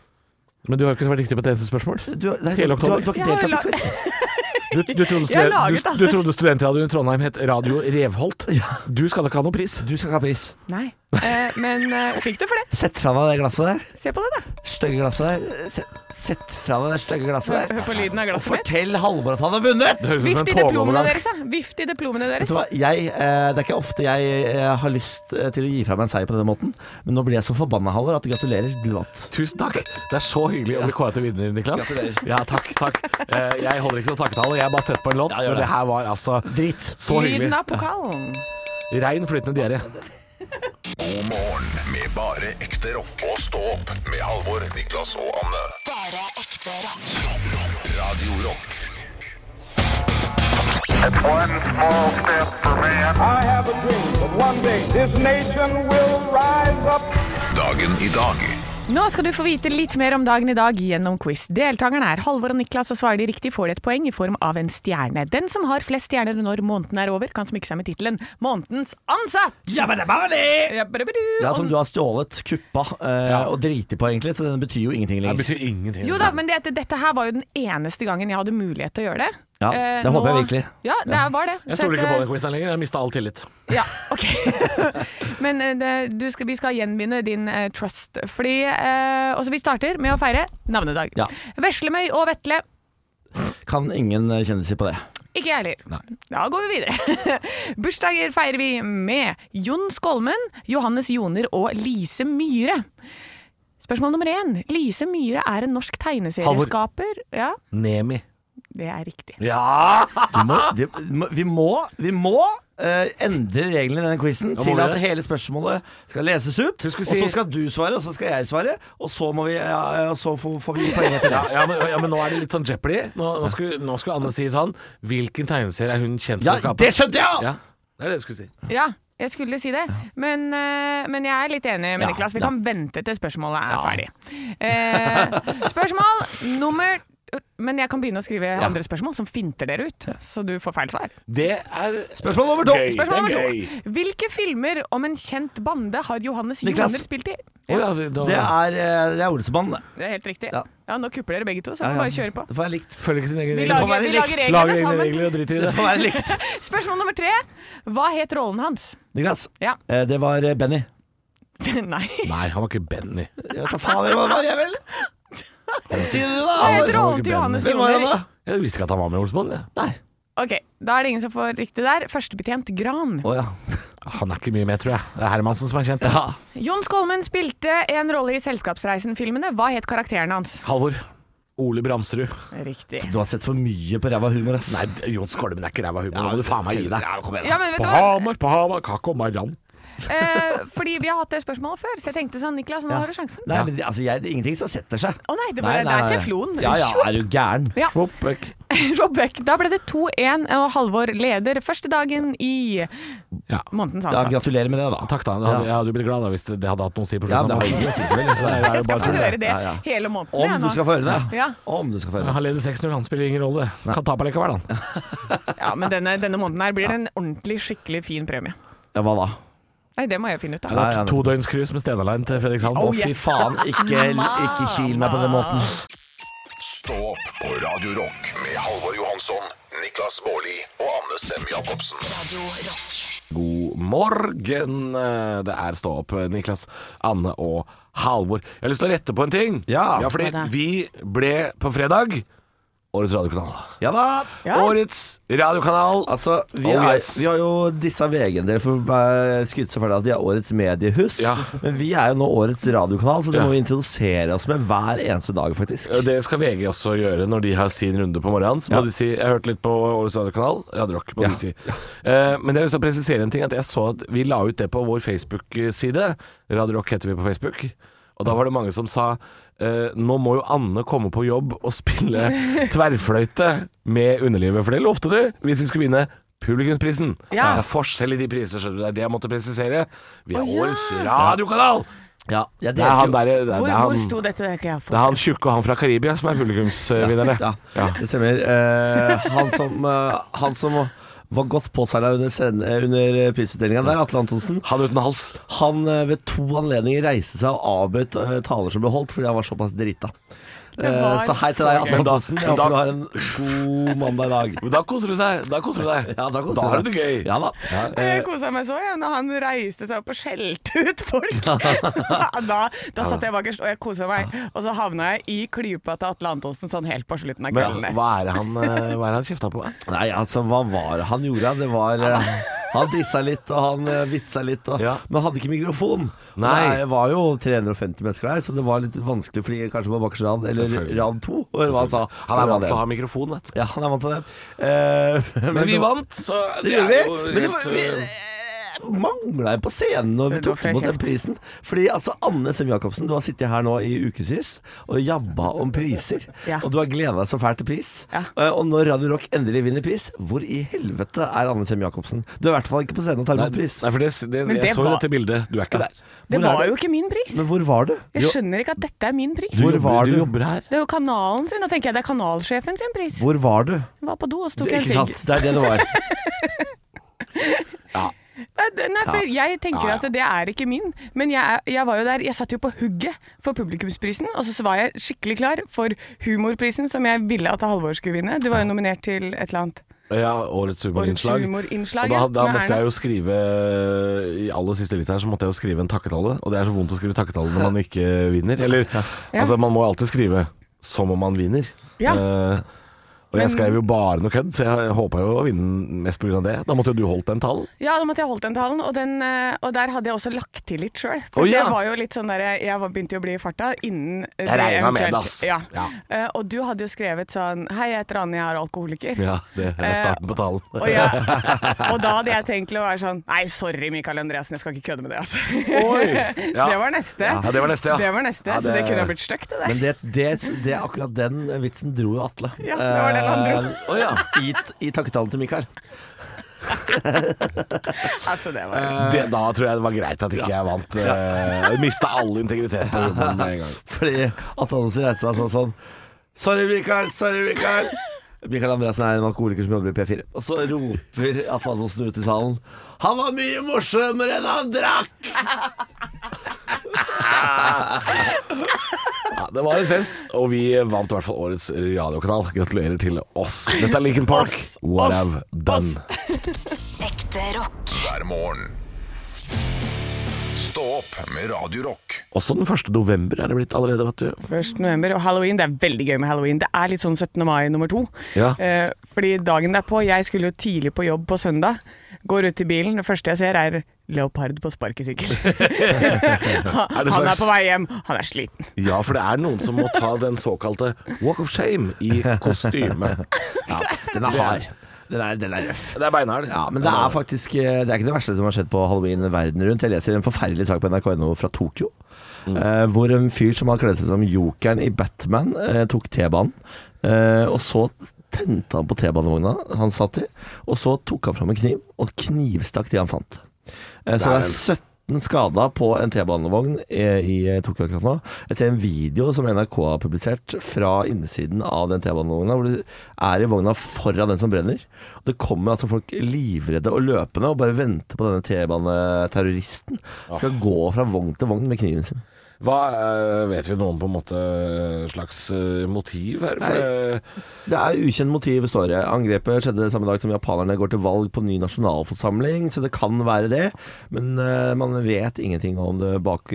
[SPEAKER 1] Men du har ikke vært riktig på et eneste spørsmål.
[SPEAKER 3] Du, nei,
[SPEAKER 1] Hele
[SPEAKER 3] du, du,
[SPEAKER 1] oktober.
[SPEAKER 3] har- du har ikke
[SPEAKER 2] Jeg har
[SPEAKER 3] deltatt i quiz?
[SPEAKER 1] Du, du, trodde, studen-
[SPEAKER 2] Jeg har laget
[SPEAKER 1] du,
[SPEAKER 2] alle-
[SPEAKER 1] du trodde studentradioen i Trondheim het Radio Revholt. Du skal ikke ha noen pris.
[SPEAKER 3] Du skal ikke ha pris.
[SPEAKER 2] Nei. Eh, men eh, fikk det for det.
[SPEAKER 3] Sett fra deg det glasset der.
[SPEAKER 2] Se på det, da.
[SPEAKER 3] Stygge glasset der. Sett, sett fra deg det stygge glasset
[SPEAKER 2] Hør
[SPEAKER 3] der.
[SPEAKER 2] på lyden av glasset mitt.
[SPEAKER 3] Fortell Halvor at han har vunnet!
[SPEAKER 1] Det høres ut som
[SPEAKER 2] Vift
[SPEAKER 1] en
[SPEAKER 2] i diplomene
[SPEAKER 1] tågeovergang.
[SPEAKER 2] deres, da. Vift i diplomene
[SPEAKER 3] Vet
[SPEAKER 2] deres.
[SPEAKER 3] du hva, jeg, eh, Det er ikke ofte jeg eh, har lyst eh, til å gi fra meg en seier på denne måten, men nå blir jeg så forbanna, Halvor, at gratulerer, du vant.
[SPEAKER 1] Tusen takk. Det er så hyggelig å bli kåret til vinner, Niklas.
[SPEAKER 3] Gratulerer.
[SPEAKER 1] Ja, takk, takk. Eh, Jeg holder ikke noen takketale, jeg har bare sett på en låt.
[SPEAKER 3] gjør
[SPEAKER 1] men
[SPEAKER 3] det.
[SPEAKER 1] det her var altså
[SPEAKER 3] Dritt.
[SPEAKER 1] så hyggelig.
[SPEAKER 2] Lyden av pokalen.
[SPEAKER 1] Rein flytende diaré.
[SPEAKER 7] God morgen med bare ekte rock. Og stå opp med Halvor, Niklas og Anne.
[SPEAKER 6] Bare ekte rock.
[SPEAKER 7] Radio Rock.
[SPEAKER 8] It's one small step for man. I have a dream that one day this nation will rise up.
[SPEAKER 7] Dagen i dag.
[SPEAKER 2] Nå skal du få vite litt mer om dagen i dag gjennom quiz. Deltakerne er Halvor og Niklas, og svarer de riktig får de et poeng i form av en stjerne. Den som har flest stjerner når måneden er over, kan smykke seg med tittelen 'Månedens ansatt'. Jabba-dabba-di!
[SPEAKER 3] Ja, som du har stjålet, kuppa eh, og driti på, egentlig, så den betyr jo ingenting lenger.
[SPEAKER 1] ingenting.
[SPEAKER 2] Jo da, men dette, dette her var jo den eneste gangen jeg hadde mulighet til å gjøre det.
[SPEAKER 3] Ja,
[SPEAKER 2] Eh,
[SPEAKER 3] det håper jeg
[SPEAKER 2] nå-
[SPEAKER 3] virkelig.
[SPEAKER 2] Ja, det var det.
[SPEAKER 1] Jeg
[SPEAKER 2] Så
[SPEAKER 1] stoler ikke
[SPEAKER 2] at,
[SPEAKER 1] på den quizen lenger, jeg mista all tillit.
[SPEAKER 2] Ja, ok. <laughs> Men eh, det, du skal, vi skal gjenvinne din eh, trust. Fordi, eh, også vi starter med å feire navnedag.
[SPEAKER 3] Ja.
[SPEAKER 2] Veslemøy og Vetle.
[SPEAKER 3] Kan ingen eh, kjenne seg på det.
[SPEAKER 2] Ikke jeg heller. Da går vi videre. <laughs> Bursdager feirer vi med Jon Skolmen, Johannes Joner og Lise Myhre. Spørsmål nummer én. Lise Myhre er en norsk tegneserieskaper. Ja,
[SPEAKER 1] Nemi.
[SPEAKER 2] det er riktig.
[SPEAKER 1] Ja!
[SPEAKER 3] Vi må, det, må- vi må, vi må eh, endre reglene i denne quizen
[SPEAKER 1] må
[SPEAKER 3] til
[SPEAKER 1] vi
[SPEAKER 3] at
[SPEAKER 1] det.
[SPEAKER 3] hele spørsmålet skal leses ut.
[SPEAKER 1] Du skulle
[SPEAKER 3] Og
[SPEAKER 1] si-
[SPEAKER 3] så skal du svare, og så skal jeg svare, og så, må vi, ja, ja, så får, får vi gi poeng etter det.
[SPEAKER 1] Ja, ja, men, ja, men nå er det litt sånn Jeopardy. Nå, nå, skulle, nå skulle Anne si sånn Hvilken tegneserie er hun kjent for
[SPEAKER 3] Ja,
[SPEAKER 1] å skape?
[SPEAKER 3] det skjønte jeg!
[SPEAKER 1] Ja, det er det du skulle si.
[SPEAKER 2] Ja, jeg skulle si det, men, eh, men jeg er litt enig med
[SPEAKER 3] Ja,
[SPEAKER 2] Niklas. Vi
[SPEAKER 3] ja.
[SPEAKER 2] kan vente til spørsmålet er ferdig. Eh, spørsmål nummer Men jeg kan begynne å skrive andre spørsmål som finter dere ut, så du får feil svar.
[SPEAKER 1] Det er
[SPEAKER 3] Spørsmål nummer to.
[SPEAKER 2] Spørsmål nummer to. Hvilke filmer om en kjent bande har Johannes
[SPEAKER 3] Niklas.
[SPEAKER 2] Joner spilt i?
[SPEAKER 1] Å ja, da
[SPEAKER 3] Det er, eh, det er Olsemannen, det.
[SPEAKER 2] Det er helt riktig.
[SPEAKER 3] Ja.
[SPEAKER 2] Ja, Nå kupper dere begge to, så
[SPEAKER 3] Ja, ja.
[SPEAKER 2] bare kjør på.
[SPEAKER 3] Det får være likt.
[SPEAKER 1] Følger ikke sin egen
[SPEAKER 2] Vi
[SPEAKER 1] regel.
[SPEAKER 3] være
[SPEAKER 2] lager, vi
[SPEAKER 3] likt.
[SPEAKER 1] Lager
[SPEAKER 2] lager reglene
[SPEAKER 1] egne
[SPEAKER 2] sammen.
[SPEAKER 1] regler og driter i
[SPEAKER 3] Det
[SPEAKER 1] det.
[SPEAKER 3] får være likt.
[SPEAKER 2] <laughs> Spørsmål nummer tre. Hva het rollen hans? <laughs>
[SPEAKER 3] Niklas,
[SPEAKER 2] Ja.
[SPEAKER 3] eh, det var eh, Benny.
[SPEAKER 2] Nei.
[SPEAKER 1] Nei, han var ikke Benny.
[SPEAKER 3] Jeg vet da faen hva det var, jeg
[SPEAKER 2] <laughs>
[SPEAKER 3] vel? Si det, da.
[SPEAKER 2] Hva het
[SPEAKER 3] Halvor.
[SPEAKER 2] <laughs> rollen til Johannes
[SPEAKER 3] Hvem var han,
[SPEAKER 2] Joner?
[SPEAKER 3] da?
[SPEAKER 1] Jeg visste ikke at han var med i Olsmann. jeg.
[SPEAKER 3] Nei.
[SPEAKER 2] Ok, Da er det ingen som får riktig der. Førstebetjent Gran.
[SPEAKER 3] Å ja.
[SPEAKER 1] Han er ikke mye med, tror jeg. Det er Hermansen som er kjent.
[SPEAKER 2] Jon Skolmen spilte en rolle i Selskapsreisen-filmene. Hva het karakteren hans?
[SPEAKER 1] Halvor. Ole Bramsrud.
[SPEAKER 2] Riktig.
[SPEAKER 3] Du har sett for mye på ræva humor, ass.
[SPEAKER 1] Nei, Jon Skolmen er ikke ræva humor. Nå må du faen meg gi deg.
[SPEAKER 2] Ja, men
[SPEAKER 1] På
[SPEAKER 2] vet du hva?
[SPEAKER 1] Hamar, på Hamar, kakko, maran.
[SPEAKER 2] <laughs> Eh, fordi vi har hatt det spørsmålet før, så jeg tenkte sånn, Niklas, nå har du sjansen.
[SPEAKER 3] Nei, men det- altså, jeg, det er ingenting som setter seg.
[SPEAKER 2] Å nei, det var- det er teflon.
[SPEAKER 3] Ja, ja, er du gæren?
[SPEAKER 2] Ja.
[SPEAKER 1] Flopp, vekk.
[SPEAKER 2] <laughs> Robek, da ble det 2-1, og Halvor leder første dagen i
[SPEAKER 1] Ja.
[SPEAKER 2] månedens
[SPEAKER 3] Ja,
[SPEAKER 2] ansatt.
[SPEAKER 3] gratulerer med det, da.
[SPEAKER 1] Takk, da. Jeg hadde, jeg hadde blitt glad da hvis det, det hadde hatt noe å si på
[SPEAKER 3] Ja,
[SPEAKER 1] slutten.
[SPEAKER 3] det
[SPEAKER 1] av
[SPEAKER 3] har
[SPEAKER 1] måneden.
[SPEAKER 3] ingen sist, vel. så det er
[SPEAKER 2] <laughs> Jeg
[SPEAKER 3] jo
[SPEAKER 2] skal
[SPEAKER 3] bare
[SPEAKER 2] få
[SPEAKER 3] tull,
[SPEAKER 2] høre det
[SPEAKER 3] Ja, ja.
[SPEAKER 2] hele måneden. jeg,
[SPEAKER 3] Om du
[SPEAKER 2] nå.
[SPEAKER 3] skal få høre det.
[SPEAKER 2] Ja.
[SPEAKER 3] Om du skal få høre det.
[SPEAKER 1] Han leder 6-0, han spiller ingen rolle. det. Kan tape likevel, han.
[SPEAKER 2] Ja, men denne, denne måneden her blir det en ordentlig, skikkelig fin premie.
[SPEAKER 3] Ja, hva da?
[SPEAKER 2] Nei, det må jeg finne ut
[SPEAKER 1] Det Oh,
[SPEAKER 2] av.
[SPEAKER 3] Nei, ja,
[SPEAKER 1] er
[SPEAKER 3] det-
[SPEAKER 1] to døgns cruise med Stena Line til Fredrikshavn.
[SPEAKER 3] Å,
[SPEAKER 1] Å,
[SPEAKER 3] fy
[SPEAKER 1] fy faen.
[SPEAKER 3] faen. Ikke, ikke kil meg på den måten.
[SPEAKER 7] Stå opp på Radio Rock med Halvor Johansson, Niklas Baarli og Anne Sem Jacobsen.
[SPEAKER 6] Radio Rock.
[SPEAKER 1] God morgen. Det er Stå opp, Niklas, Anne og Halvor. Jeg har lyst til å rette på en ting.
[SPEAKER 3] Ja.
[SPEAKER 1] fordi vi ble på fredag Årets radiokanal.
[SPEAKER 3] Ja da.
[SPEAKER 2] Ja.
[SPEAKER 1] Årets radiokanal.
[SPEAKER 3] Altså, vi,
[SPEAKER 1] Oh,
[SPEAKER 3] er,
[SPEAKER 1] yes.
[SPEAKER 3] vi har jo disse VG-en dere får eh, skryte så fælt av at de er årets mediehus.
[SPEAKER 1] Ja.
[SPEAKER 3] Men vi er jo nå årets radiokanal, så det
[SPEAKER 1] Ja.
[SPEAKER 3] må vi introdusere oss med hver eneste dag, faktisk.
[SPEAKER 1] Det skal VG også gjøre når de har sin runde på morgenen. Så må
[SPEAKER 3] Ja.
[SPEAKER 1] de si Jeg hørte litt på Årets radiokanal, Radio Rock, må
[SPEAKER 3] Ja.
[SPEAKER 1] de si. Eh, men jeg har lyst til å presisere en ting. At jeg så at vi la ut det på vår Facebook-side. Radio Rock heter vi på Facebook. Og da var det mange som sa eh, nå må jo Anne komme på jobb og spille
[SPEAKER 2] <laughs>
[SPEAKER 1] tverrfløyte med underlivet. For det lovte du hvis vi skulle vinne publikumsprisen.
[SPEAKER 2] Ja.
[SPEAKER 1] Det er forskjell i de priser, skjønner du. Det er det jeg måtte presisere. Vi er
[SPEAKER 2] Å, ja.
[SPEAKER 1] Årets radiokanal!
[SPEAKER 3] Ja, jeg
[SPEAKER 1] Det er han
[SPEAKER 3] delte jo-
[SPEAKER 1] derre det, er-
[SPEAKER 2] Hvor,
[SPEAKER 1] det er
[SPEAKER 2] hvor
[SPEAKER 1] han-
[SPEAKER 2] sto dette? Det har ikke jeg
[SPEAKER 1] det
[SPEAKER 2] fått.
[SPEAKER 1] er han tjukke og han fra Karibia som er publikumsvinnerne.
[SPEAKER 3] Ja, det stemmer. Eh, han, som, eh, han som var godt påseila under, sen- eh, under prisutdelinga der, Atle Antonsen,
[SPEAKER 1] Han uten hals.
[SPEAKER 3] han eh, ved to anledninger reiste seg og avbrøt eh, taler som ble holdt fordi han var såpass drita.
[SPEAKER 2] var
[SPEAKER 3] Eh, Så hei til deg, Atle
[SPEAKER 1] Men da-
[SPEAKER 3] Antonsen. Jeg
[SPEAKER 1] men da-
[SPEAKER 3] håper du har en god mandag i
[SPEAKER 1] <laughs>
[SPEAKER 3] dag.
[SPEAKER 1] Men da koser du seg. Da koser du deg.
[SPEAKER 3] Ja, da koser
[SPEAKER 1] da
[SPEAKER 3] vi
[SPEAKER 1] har
[SPEAKER 3] oss.
[SPEAKER 1] du det gøy.
[SPEAKER 3] Ja da. Eh,
[SPEAKER 2] Jeg kosa meg så ja, når han reiste seg opp og skjelte ut
[SPEAKER 3] <laughs>
[SPEAKER 2] folk. <laughs> da, da satt jeg bakerst, og jeg kosa meg. Og så havna jeg i klypa til Atle Antonsen sånn helt på slutten av kvelden.
[SPEAKER 1] Men
[SPEAKER 2] der.
[SPEAKER 1] hva er det han, eh, hva er det han kjefta på?
[SPEAKER 3] Nei, altså, hva var det han gjorde? Det var eh, <laughs> Han dissa litt, og han eh, vitsa litt, og,
[SPEAKER 1] Ja.
[SPEAKER 3] men hadde ikke mikrofon. Og
[SPEAKER 1] Nei.
[SPEAKER 3] Det var jo 350 mennesker der, så det var litt vanskelig for de kanskje på bakerste rad, eller
[SPEAKER 1] Selvfølgelig.
[SPEAKER 3] rad to, å høre hva han sa.
[SPEAKER 1] Han er
[SPEAKER 3] På
[SPEAKER 1] vant til å
[SPEAKER 3] radioen.
[SPEAKER 1] ha mikrofon, vet du.
[SPEAKER 3] Ja, han er vant til det. Eh, <laughs>
[SPEAKER 1] Men vi
[SPEAKER 3] det var-
[SPEAKER 1] vant, så
[SPEAKER 3] Det gjorde vi.
[SPEAKER 1] er jo
[SPEAKER 3] Men det var,
[SPEAKER 1] helt,
[SPEAKER 3] vi
[SPEAKER 1] eh,
[SPEAKER 3] eh, mangla en på scenen når vi
[SPEAKER 2] Selv
[SPEAKER 3] tok
[SPEAKER 2] dere
[SPEAKER 3] imot den
[SPEAKER 2] kjeft.
[SPEAKER 3] prisen. Fordi altså, Anne Sem Jacobsen, du har sittet her nå i ukevis og jabba om priser.
[SPEAKER 2] <laughs> Ja.
[SPEAKER 3] Og du har gleda deg så fælt til pris.
[SPEAKER 2] Ja.
[SPEAKER 3] Eh, Og når Radio Rock endelig vinner pris, hvor i helvete er Anne Sem Jacobsen? Du er i hvert fall ikke på scenen og tar
[SPEAKER 1] Nei,
[SPEAKER 3] imot pris.
[SPEAKER 1] nei, for det, det,
[SPEAKER 2] Men
[SPEAKER 1] jeg
[SPEAKER 2] det
[SPEAKER 1] så jo
[SPEAKER 2] var-
[SPEAKER 1] dette bildet. Du er ikke der.
[SPEAKER 2] Det
[SPEAKER 3] Hvor er
[SPEAKER 2] var
[SPEAKER 3] det?
[SPEAKER 2] jo ikke min pris.
[SPEAKER 3] Men hvor var du?
[SPEAKER 2] Jeg skjønner ikke at dette er min pris.
[SPEAKER 3] Hvor
[SPEAKER 1] jobber-
[SPEAKER 3] var du?
[SPEAKER 1] jobber her.
[SPEAKER 2] Det er jo kanalen sin. Da tenker jeg det er kanalsjefen sin pris.
[SPEAKER 3] Hvor var du?
[SPEAKER 2] Var på do og så
[SPEAKER 3] Det,
[SPEAKER 2] tok en
[SPEAKER 3] ikke
[SPEAKER 2] sigg.
[SPEAKER 3] sant? Det er det det
[SPEAKER 2] <laughs>
[SPEAKER 3] var.
[SPEAKER 2] Nei, Eh, det- Nei, for jeg tenker
[SPEAKER 1] Ja, ja.
[SPEAKER 2] at det er ikke min, men jeg, er- jeg var jo der, jeg satt jo på hugget for publikumsprisen, og så var jeg skikkelig klar for humorprisen som jeg ville at Halvor skulle vinne. Du var jo nominert til et eller annet.
[SPEAKER 1] Ja, årets humorinnslag.
[SPEAKER 2] Årets humorinnslag,
[SPEAKER 1] og da,
[SPEAKER 2] ja,
[SPEAKER 1] da
[SPEAKER 2] med
[SPEAKER 1] måtte
[SPEAKER 2] Erna.
[SPEAKER 1] jeg jo skrive I aller siste litt her så måtte jeg jo skrive en takketale. Og det er så vondt å skrive takketale når man ikke vinner. Eller altså, man må alltid skrive som om man vinner.
[SPEAKER 2] Ja.
[SPEAKER 1] Eh, og jeg skrev jo bare noe kødd, så jeg håpa jo å vinne mest pga. det. Da måtte jo du holdt den talen.
[SPEAKER 2] Ja, da måtte jeg holdt den talen, og, den, eh, og der hadde jeg også lagt til litt sjøl.
[SPEAKER 1] Å,
[SPEAKER 2] For
[SPEAKER 1] ja.
[SPEAKER 2] jeg var jo litt sånn der, jeg var, begynte jo å bli i farta innen eh,
[SPEAKER 1] Jeg regnet med det,
[SPEAKER 2] eventuelt-
[SPEAKER 1] ass.
[SPEAKER 2] Ja.
[SPEAKER 1] Ja.
[SPEAKER 2] Eh, og du hadde jo skrevet sånn Hei, jeg heter Anne, jeg er alkoholiker.
[SPEAKER 1] det
[SPEAKER 2] Eh,
[SPEAKER 1] er starten på talen.
[SPEAKER 2] Og, jeg, og da hadde jeg tenkt til å være sånn Nei, sorry, Michael Andreasen, jeg skal ikke kødde med det, altså.
[SPEAKER 1] <laughs>
[SPEAKER 2] <laughs>
[SPEAKER 1] Oi! Ja.
[SPEAKER 2] Det var neste.
[SPEAKER 1] Ja, det var neste, ja.
[SPEAKER 2] Det var neste,
[SPEAKER 1] Ja,
[SPEAKER 2] Så det
[SPEAKER 1] det-
[SPEAKER 2] kunne ha blitt stygt, det der.
[SPEAKER 3] Men det, det, det er akkurat den vitsen dro jo Atle.
[SPEAKER 2] Ja, det var den han dro.
[SPEAKER 3] Eh, å ja. I, I takketalen til Mikael.
[SPEAKER 2] Altså, det var
[SPEAKER 1] det, da tror jeg det var greit at ikke jeg vant. Uh, Mista all integritet på jobben med en gang.
[SPEAKER 3] Fordi at han også reiste seg sånn sånn Sorry, Mikael! Sorry, Mikael! Mikael Andreassen er en alkoholiker som jobber i P4. Og så roper Atle Antonsen ut i salen Han var mye morsommere enn han drakk!
[SPEAKER 1] Ja, det var en fest, og vi vant i hvert fall årets radiokanal. Gratulerer til oss. Dette er Lincoln Park. What I've done.
[SPEAKER 6] Ekte rock.
[SPEAKER 7] hver morgen. Stå opp med Radio Rock.
[SPEAKER 1] Også den 1. november er det blitt allerede, vet du.
[SPEAKER 2] 1. november og halloween. Det er veldig gøy med halloween. Det er litt sånn 17. mai nummer to.
[SPEAKER 1] Ja.
[SPEAKER 2] Eh, fordi dagen derpå Jeg skulle jo tidlig på jobb på søndag. Går ut i bilen. Det første jeg ser, er leopard på
[SPEAKER 1] <laughs>
[SPEAKER 2] <laughs> sparkesykkel.
[SPEAKER 1] Er det
[SPEAKER 2] han er
[SPEAKER 1] slags-
[SPEAKER 2] på vei hjem. Han er sliten.
[SPEAKER 1] Ja, for det er noen som må ta den såkalte walk of shame i kostyme. Ja,
[SPEAKER 3] Den er hard. Den er, den er røff.
[SPEAKER 1] Det er beinhard.
[SPEAKER 3] Ja, men det er faktisk eh, Det er ikke det verste som har skjedd på halloween verden rundt. Jeg leser en forferdelig sak på NRK.no fra Tokyo. eh, Hvor en fyr som har kledd seg som jokeren i Batman, eh, tok T-banen. eh, og så tente han på T-banevogna han satt i, og så tok han fram en kniv og knivstakk de han fant. Eh, så det er 17 skada på en T-banevogn eh, i eh, Tokyo akkurat nå. Jeg ser en video som NRK har publisert fra innsiden av den T-banevogna, hvor du er i vogna foran den som brenner. Og det kommer altså folk livredde og løpende og bare venter på denne T-baneterroristen. Skal gå fra vogn til vogn med kniven sin.
[SPEAKER 1] Hva eh, Vet vi noe om på en måte slags eh, motiv her? For, eh, det-
[SPEAKER 3] Det er ukjent motiv, står det. Angrepet skjedde samme dag som japanerne går til valg på ny nasjonalforsamling, så det kan være det. Men eh, man vet ingenting om det bak,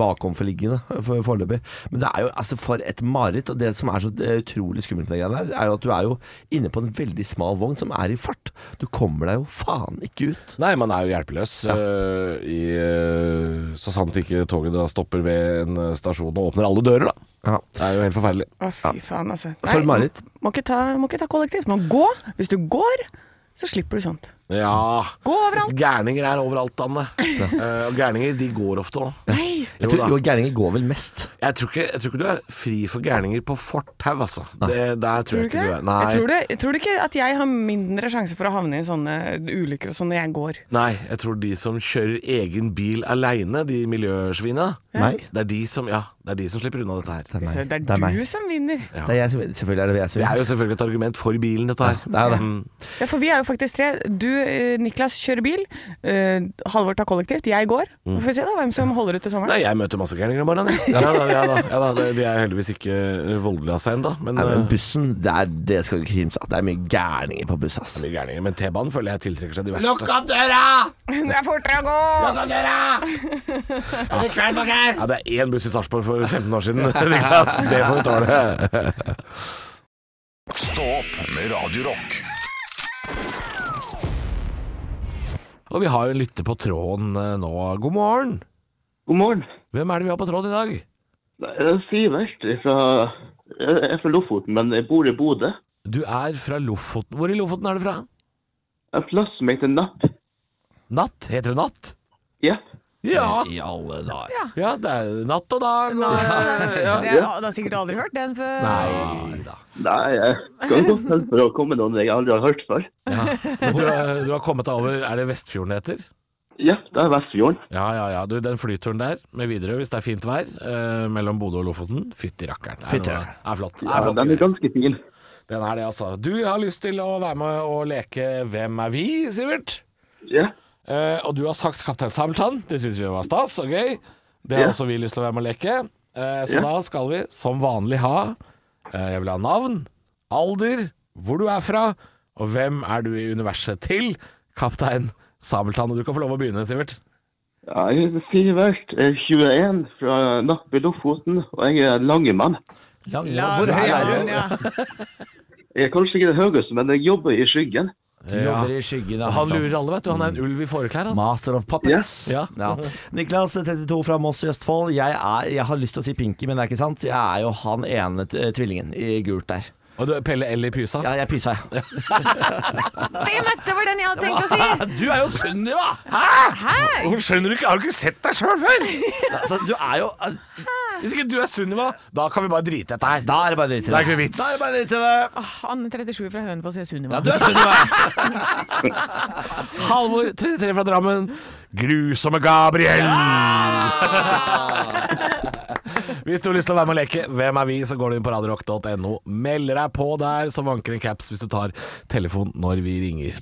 [SPEAKER 3] bakomforliggende for- foreløpig. Men det er jo altså, for et mareritt. Og det som er så eh, utrolig skummelt med det greiene der, er jo at du er jo inne på en veldig smal vogn som er i fart. Du kommer deg jo faen ikke ut.
[SPEAKER 1] Nei, man er jo hjelpeløs. eh, i, eh, så sant ikke toget da stopper ved en eh, stasjon og åpner alle dører, da.
[SPEAKER 3] Ja.
[SPEAKER 1] Det er jo helt forferdelig.
[SPEAKER 2] Å, fy faen, altså.
[SPEAKER 3] For
[SPEAKER 2] Nei,
[SPEAKER 3] Marit.
[SPEAKER 2] Må ikke ta, må ikke ta kollektivt. Må gå. Hvis du går, så slipper du sånt.
[SPEAKER 1] Ja.
[SPEAKER 2] Gå overalt.
[SPEAKER 1] Gærninger er overalt, Anne. Eh, og gærninger de går ofte òg.
[SPEAKER 3] Jeg
[SPEAKER 1] Jo da.
[SPEAKER 3] tror jo, gærninger går vel mest.
[SPEAKER 1] Jeg, tror ikke- jeg tror ikke du er fri for gærninger på fortau, altså. Det, der tror jeg
[SPEAKER 2] Tror du
[SPEAKER 1] ikke
[SPEAKER 2] ikke
[SPEAKER 1] du
[SPEAKER 2] det?
[SPEAKER 1] er. Nei.
[SPEAKER 2] Jeg tror, det, jeg tror ikke at jeg har mindre sjanse for å havne i sånne ulykker og sånn når jeg går.
[SPEAKER 1] Nei, jeg tror de som kjører egen bil aleine, de miljøsvina
[SPEAKER 3] Nei.
[SPEAKER 1] Det er de som, ja, det er de som slipper unna dette her.
[SPEAKER 3] Det
[SPEAKER 2] Så det er, du som vinner.
[SPEAKER 3] Det er jeg, som- selvfølgelig er det jeg som
[SPEAKER 1] Det er jo selvfølgelig et argument for bilen, dette her.
[SPEAKER 3] Det er det.
[SPEAKER 1] Mm.
[SPEAKER 2] Ja, for vi er jo faktisk tre. Du, eh, Niklas, kjører bil. eh, Halvor tar kollektivt. Jeg går. Vi får se da hvem som holder ut til sommeren.
[SPEAKER 1] Nei, jeg møter masse gærninger om morgenen. jeg. Ja da, ja da, ja da. De er heldigvis ikke voldelige av seg ennå, men,
[SPEAKER 3] Nei, men
[SPEAKER 1] eh,
[SPEAKER 3] bussen, det, er, det skal du ikke kimse av. Det er mye gærninger på buss, ass.
[SPEAKER 1] de gærninger. men T-banen føler jeg tiltrekker seg de verste.
[SPEAKER 3] Lukk opp
[SPEAKER 2] <laughs>
[SPEAKER 3] døra!
[SPEAKER 2] Det er fortere å gå! <laughs>
[SPEAKER 3] Lukk opp døra! Er det kveld bak her?
[SPEAKER 1] Ja, det er én buss i Sarpsborg for 15 år siden, <laughs> Niklas. Det får du tåle.
[SPEAKER 7] Stå opp med Radio Rock.
[SPEAKER 1] Og vi har jo en lytter på tråden eh, nå. God morgen!
[SPEAKER 9] God morgen.
[SPEAKER 1] Hvem er det vi har på tråden i dag?
[SPEAKER 9] Det er Sivert fra Jeg er fra Lofoten, men jeg bor i Bodø.
[SPEAKER 1] Du er fra Lofoten. Hvor i Lofoten er du fra?
[SPEAKER 9] En plass som heter Napp.
[SPEAKER 1] Natt? Heter det Natt?
[SPEAKER 9] Ja.
[SPEAKER 1] Ja.
[SPEAKER 3] I alle dager.
[SPEAKER 1] ja, det er natt og dag.
[SPEAKER 2] Det har du har sikkert aldri hørt den før.
[SPEAKER 1] <laughs> Nei da.
[SPEAKER 9] Nei, jeg kan godt hende for å komme noen jeg aldri har hørt før.
[SPEAKER 1] Men du, er- du har kommet deg over Er det Vestfjorden det heter?
[SPEAKER 9] Ja, det er Vestfjorden.
[SPEAKER 1] Ja, ja, ja. Du, den flyturen der med Widerøe, hvis det er fint vær, eh, mellom Bodø og Lofoten Fytti rakkeren. Det er
[SPEAKER 3] Fytti
[SPEAKER 1] noe-
[SPEAKER 3] rakkeren.
[SPEAKER 1] Det er flott. Det
[SPEAKER 9] Ja,
[SPEAKER 1] er flott.
[SPEAKER 9] den er
[SPEAKER 1] greier.
[SPEAKER 9] ganske fin.
[SPEAKER 1] Den er det, altså. Du har lyst til å være med og leke Hvem er vi, Sivert?
[SPEAKER 9] Ja.
[SPEAKER 1] Eh, og du har sagt Kaptein Sabeltann. Det syns vi var stas og gøy. Det har
[SPEAKER 9] Ja.
[SPEAKER 1] også vi lyst til å være med og leke. Eh, så
[SPEAKER 9] Ja.
[SPEAKER 1] da skal vi som vanlig ha eh, Jeg vil ha navn, alder, hvor du er fra, og hvem er du i universet til? Kaptein Sabeltann. Og du kan få lov å begynne, Sivert.
[SPEAKER 9] ja jeg heter Sivert, jeg er 21, fra Napp i Lofoten, og jeg er en langemann.
[SPEAKER 3] Hvor høy er du?
[SPEAKER 2] Ja.
[SPEAKER 9] Jeg er kanskje ikke den høyeste, men jeg jobber i skyggen.
[SPEAKER 3] Du jobber i skyggen av
[SPEAKER 1] Han lurer alle, vet du. Han er en ulv i fåreklær, han.
[SPEAKER 3] Master of Puppets.
[SPEAKER 1] Ja.
[SPEAKER 3] Ja. Niklas, 32 fra Moss i Østfold. Jeg, er, jeg har lyst til å si Pinky, men det er ikke sant. Jeg er jo han ene eh, tvillingen i gult der.
[SPEAKER 1] Og du Pelle L i pysa.
[SPEAKER 3] Ja, jeg pysa, jeg.
[SPEAKER 2] Damn it, det var den jeg hadde tenkt å si!
[SPEAKER 3] <laughs> Du er jo Sunniva!
[SPEAKER 1] Hvorfor skjønner du ikke? Har du ikke sett deg sjøl før?
[SPEAKER 3] Altså, du er jo
[SPEAKER 1] Hvis ikke du er Sunniva, da kan vi bare drite i dette her.
[SPEAKER 3] Da er det bare dritt i det.
[SPEAKER 1] Det er ikke vits.
[SPEAKER 3] Da er det bare dritt i det.
[SPEAKER 2] Anne 37 fra Hønefoss er Sunniva.
[SPEAKER 3] Ja, du er Sunniva.
[SPEAKER 1] Halvor, 33 fra Drammen. Grusomme Gabriel! <laughs> hvis du har lyst til å være med og leke Hvem er vi?, så går du inn på radiorock.no. Melder deg på der, så vanker en caps hvis du tar telefon når vi ringer.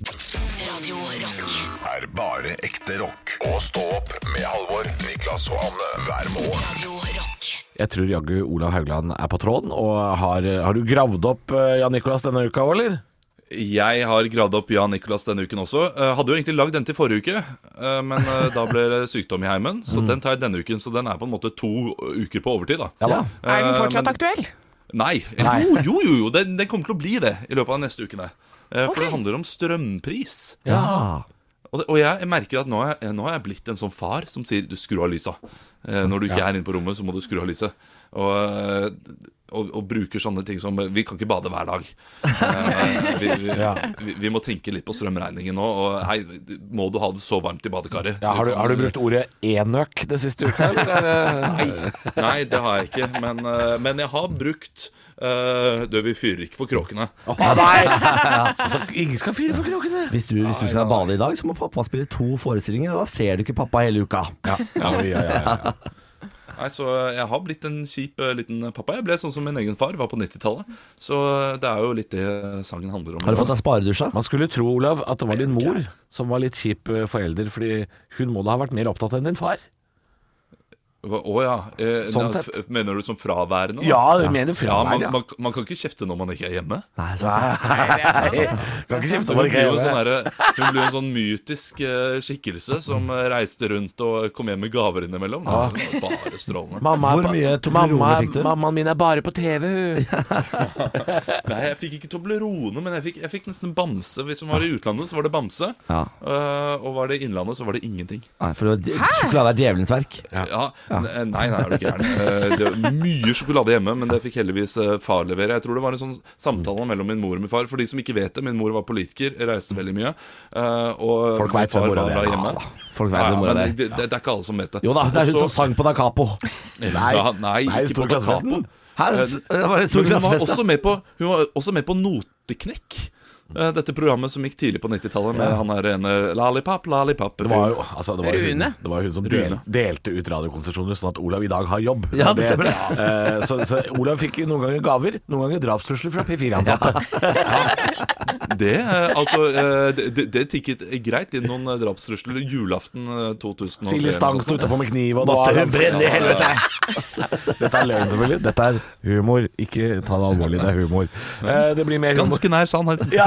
[SPEAKER 6] Radio Rock.
[SPEAKER 7] Er bare ekte rock. Og stå opp med Halvor, Niklas og Anne hver morgen.
[SPEAKER 6] Radio Rock.
[SPEAKER 1] Jeg tror jaggu Olav Haugland er på tråden. Og har, har du gravd opp eh, Jan Nicolas denne uka òg, eller?
[SPEAKER 10] Jeg har gravd opp Jan Nicolas denne uken også. Eh, hadde jo egentlig lagd den til forrige uke, eh, men eh, da ble det sykdom i heimen. Så
[SPEAKER 9] Mm.
[SPEAKER 10] den tar jeg denne uken, så den er på en måte to uker på overtid. da
[SPEAKER 2] Er den fortsatt
[SPEAKER 10] men-
[SPEAKER 2] aktuell?
[SPEAKER 10] Nei. Jo, jo, jo, jo. Den, den kommer til å bli det i løpet av de neste ukene. Eh, For
[SPEAKER 2] Ok.
[SPEAKER 10] det handler om strømpris.
[SPEAKER 3] Ja.
[SPEAKER 10] Og, det, og jeg merker at nå har jeg, nå har jeg blitt en sånn far som sier 'du skru av lysa'. Eh, når du ikke er inne på rommet, så må du skru av lyset. Og, eh, og, og bruker sånne ting som 'vi kan ikke bade hver dag'. Eh, vi, vi,
[SPEAKER 1] <laughs>
[SPEAKER 10] vi, vi må tenke litt på strømregningen nå. Og hei, må du ha det så varmt i badekaret?
[SPEAKER 1] Ja, har, du, har du brukt ordet enøk det siste uka, eller? er det-
[SPEAKER 10] Nei, det har jeg ikke. Men, eh, men jeg har brukt eh, Du, vi fyrer ikke for kråkene.
[SPEAKER 1] Å, nei! <laughs> Altså, ingen skal fyre for krokene.
[SPEAKER 3] Hvis du, hvis du skal bade i dag, så må pappa spille to forestillinger, og da ser du ikke pappa hele uka.
[SPEAKER 1] Oi, ja, ja, ja.
[SPEAKER 10] Nei, så jeg har blitt en kjip eh, liten pappa. Jeg ble sånn som min egen far var på 90-tallet. Så det er jo litt det sangen handler om.
[SPEAKER 3] Har du fått deg sparedusja?
[SPEAKER 1] Man skulle tro, Olav, at det var din mor som var litt kjip eh, forelder, fordi hun må da ha vært mer opptatt enn din far.
[SPEAKER 10] Hva- Å ja. Eh,
[SPEAKER 1] Sånn
[SPEAKER 10] da,
[SPEAKER 1] sett.
[SPEAKER 10] f- Mener du som fraværende? da?
[SPEAKER 1] du mener
[SPEAKER 10] Ja, man, man, man kan ikke kjefte når man ikke er hjemme.
[SPEAKER 3] Nei, så
[SPEAKER 1] Kan ikke
[SPEAKER 10] Så
[SPEAKER 1] kjefte
[SPEAKER 10] hun,
[SPEAKER 1] på det
[SPEAKER 10] blir jo sånn derre- hun blir jo en sånn mytisk eh, skikkelse som eh, reiste rundt og kom hjem med gaver innimellom. Nei, det var Bare strålende.
[SPEAKER 1] Mamma,
[SPEAKER 3] Hvor mye Toblerone fikk du?
[SPEAKER 1] Mammaen min er bare på TV, hun.
[SPEAKER 10] Nei, jeg fikk ikke Toblerone, men jeg fikk, jeg fikk nesten bamse. Hvis hun var i utlandet, så var det bamse.
[SPEAKER 3] Ja.
[SPEAKER 10] Eh, og var det i innlandet, så var det ingenting.
[SPEAKER 3] Nei, for det var- sjokolade er djevelens verk.
[SPEAKER 10] Ja, ne- Nei, nei, er du gæren. Eh, Det var mye sjokolade hjemme, men det fikk heldigvis eh, far levere. Jeg tror det var en sånn samtale mellom min mor og min far. For de som ikke vet det, min mor var politiker, reiste veldig mye. eh, Og
[SPEAKER 1] Folk
[SPEAKER 10] min
[SPEAKER 1] vet hvem
[SPEAKER 10] far
[SPEAKER 1] mora
[SPEAKER 10] var
[SPEAKER 1] det er.
[SPEAKER 10] bare
[SPEAKER 1] Ja
[SPEAKER 10] hjemme.
[SPEAKER 3] da, folk vet
[SPEAKER 10] Ja,
[SPEAKER 3] hvem
[SPEAKER 10] ja,
[SPEAKER 3] mora
[SPEAKER 10] men
[SPEAKER 3] det
[SPEAKER 10] det, det, det er ikke alle som vet det.
[SPEAKER 3] Jo da, det er hun
[SPEAKER 10] Også-
[SPEAKER 3] som sang på Da Capo.
[SPEAKER 10] Ja, nei,
[SPEAKER 1] Nei,
[SPEAKER 10] ikke
[SPEAKER 1] stor
[SPEAKER 10] på Da
[SPEAKER 1] klassefesten.
[SPEAKER 10] Capo.
[SPEAKER 3] Her,
[SPEAKER 10] Eh,
[SPEAKER 3] det var det stor
[SPEAKER 10] Men hun var,
[SPEAKER 3] klassefest, da.
[SPEAKER 10] også med på, hun var også med på Noteknekk. eh, Dette programmet som gikk tidlig på 90-tallet med han der ene Lollipop, lollipop
[SPEAKER 1] Det var jo altså, det var jo
[SPEAKER 2] Rune.
[SPEAKER 1] Hun, det var jo hun som del,
[SPEAKER 10] Rune.
[SPEAKER 1] delte ut radiokonsesjoner, sånn at Olav i dag har jobb.
[SPEAKER 3] Ja, det
[SPEAKER 1] <laughs>
[SPEAKER 3] stemmer det.
[SPEAKER 1] Eh, så, så Olav fikk noen ganger gaver, noen ganger drapstrusler fra P4-ansatte.
[SPEAKER 10] Det, eh, altså, eh, det, det, det tikket greit inn noen eh, drapstrusler julaften eh, 2003.
[SPEAKER 1] Silje Stang sto utafor med kniv, og nå
[SPEAKER 3] Måtte
[SPEAKER 1] er
[SPEAKER 3] hun
[SPEAKER 1] han-
[SPEAKER 3] brenne i helvete!
[SPEAKER 1] Dette er løgn, selvfølgelig. Dette er humor. Ikke ta det alvorlig, det er humor. Eh, det blir mer humor.
[SPEAKER 10] Ganske nær sannheten. <laughs>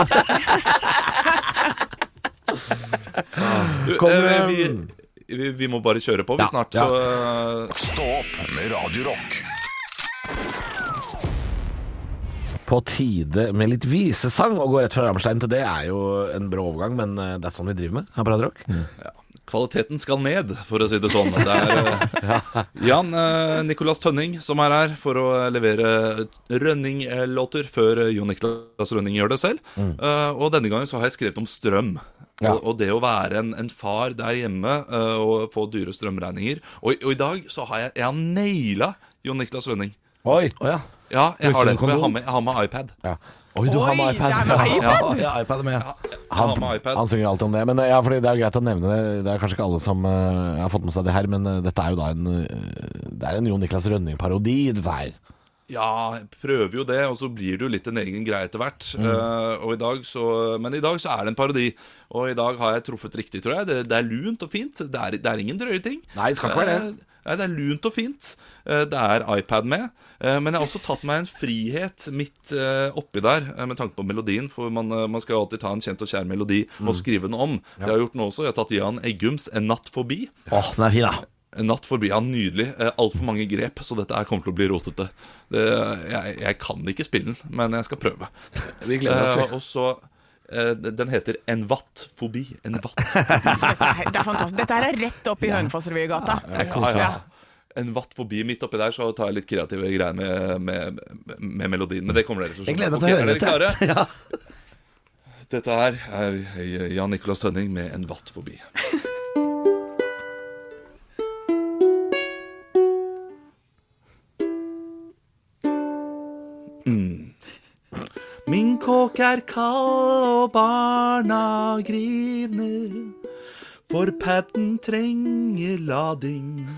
[SPEAKER 10] Du,
[SPEAKER 1] Kom,
[SPEAKER 10] eh,
[SPEAKER 1] eh,
[SPEAKER 10] vi, vi, vi må bare kjøre på vi
[SPEAKER 1] Ja,
[SPEAKER 10] snart,
[SPEAKER 1] ja.
[SPEAKER 10] så eh,
[SPEAKER 7] Stå opp med Radio Rock.
[SPEAKER 1] På tide med litt visesang. Å gå rett fra Rammstein til det er jo en brå overgang, men eh, det er sånn vi driver med her på Radio Rock.
[SPEAKER 10] Kvaliteten skal ned, for å si det sånn. Det
[SPEAKER 1] <laughs>
[SPEAKER 10] er eh, Jan eh, Nicolas Tønning som er her for å eh, levere Rønning-låter før eh, Jon Niklas Rønning gjør det selv.
[SPEAKER 1] Mm.
[SPEAKER 10] Eh, og denne gangen så har jeg skrevet om strøm. Og, og det å være en, en far der hjemme eh, og få dyre strømregninger. Og, og i dag så har jeg, jeg har naila Jon Niklas Rønning.
[SPEAKER 1] Oi!
[SPEAKER 3] Å ja.
[SPEAKER 10] Ja, jeg har det. for
[SPEAKER 1] Brukte du
[SPEAKER 10] Jeg
[SPEAKER 1] kondom?
[SPEAKER 10] har med, jeg har med iPad.
[SPEAKER 1] Ja. Oi, du har
[SPEAKER 2] Oi,
[SPEAKER 1] med iPad.
[SPEAKER 2] det er med
[SPEAKER 1] Ja.
[SPEAKER 3] Ja, ja, iPad er med.
[SPEAKER 10] Jeg har
[SPEAKER 1] Han,
[SPEAKER 10] med iPad.
[SPEAKER 1] han synger alltid om det. Men eh, ja, fordi Det er jo greit å nevne det. Det er kanskje ikke alle som eh, har fått med seg det her, men eh, dette er jo da en eh, Det er en Jon Niklas Rønning-parodi. Det der.
[SPEAKER 10] Ja, jeg prøver jo det, og så blir det jo litt en egen greie etter hvert.
[SPEAKER 1] Mm.
[SPEAKER 10] Eh, og i dag så, men i dag så er det en parodi, og i dag har jeg truffet riktig, tror jeg. Det, det er lunt og fint. Det er, det er ingen drøye ting.
[SPEAKER 1] Nei, det skal ikke være det.
[SPEAKER 10] Eh, Nei, Det er lunt og fint. Eh, Det er iPad med. Eh, Men jeg har også tatt meg en frihet midt eh, oppi der, eh, med tanke på melodien. For man, eh, man skal jo alltid ta en kjent og kjær melodi
[SPEAKER 1] Mm.
[SPEAKER 10] og skrive den om. Det har jeg gjort nå også. Jeg har tatt Jan Eggums 'En natt forbi'.
[SPEAKER 3] Åh, den er fin, da.
[SPEAKER 10] En natt forbi, ja, nydelig. Eh, Altfor mange grep, så dette her kommer til å bli rotete. Det, jeg, jeg kan ikke spille den, men jeg skal
[SPEAKER 3] <laughs>
[SPEAKER 10] prøve.
[SPEAKER 1] Vi
[SPEAKER 10] Eh, og så eh, Den heter En vattfobi. En
[SPEAKER 3] <laughs>
[SPEAKER 10] vattfobi.
[SPEAKER 2] Nei, Det er fantastisk. Dette her er rett opp i Hønefossrevygata.
[SPEAKER 10] Ja, ja. En vattfobi midt oppi der, så tar jeg litt kreative greier med, med, med, med melodien. Men det kommer dere til å skjønne.
[SPEAKER 3] Jeg gleder meg til
[SPEAKER 10] Ok,
[SPEAKER 3] å høre
[SPEAKER 10] er
[SPEAKER 3] <laughs>
[SPEAKER 10] dere klare? Dette her er eh, Jan Nicolas Tønning med En vattfobi. Mm. Min kåk er kald og barna griner For padden trenger lading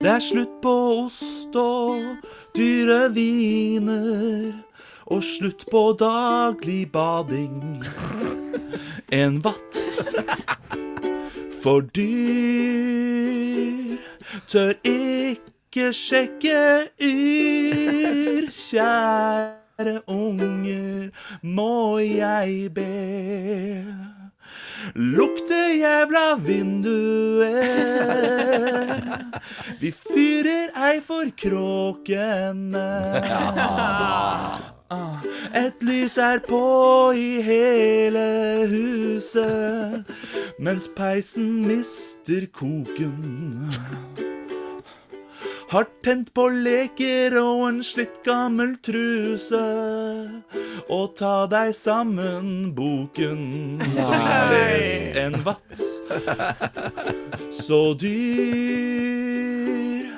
[SPEAKER 10] Det er slutt på ost og dyre viner Og slutt på daglig bading En vatt for dyr tør ikke sjekke yr. Kjære unger, må jeg be. Lukte jævla vinduet. Vi fyrer ei for kråkene. Et lys er på i hele huset, mens peisen mister koken. Har tent på leker og en slitt gammel truse. Og ta deg sammen, boken som jeg har lest en vatt. Så dyr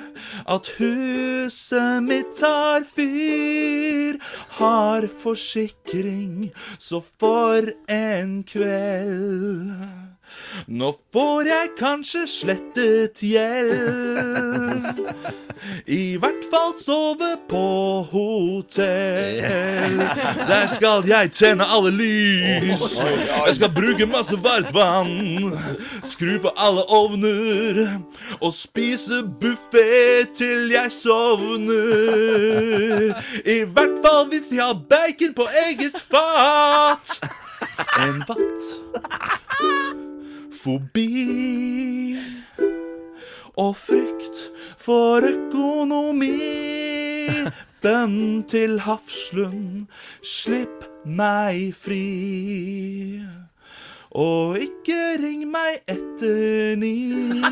[SPEAKER 10] at huset mitt tar fyr. Har forsikring, så for en kveld. Nå får jeg kanskje slettet gjeld. I hvert fall sove på hotell. Der skal jeg tjene alle lys. Jeg skal bruke masse varmt vann. Skru på alle ovner. Og spise buffé til jeg sovner. I hvert fall hvis de har bacon på eget fat. En vatt fobi og frykt for økonomi. Bønn til Hafslund, slipp meg fri. Og ikke ring meg etter ni.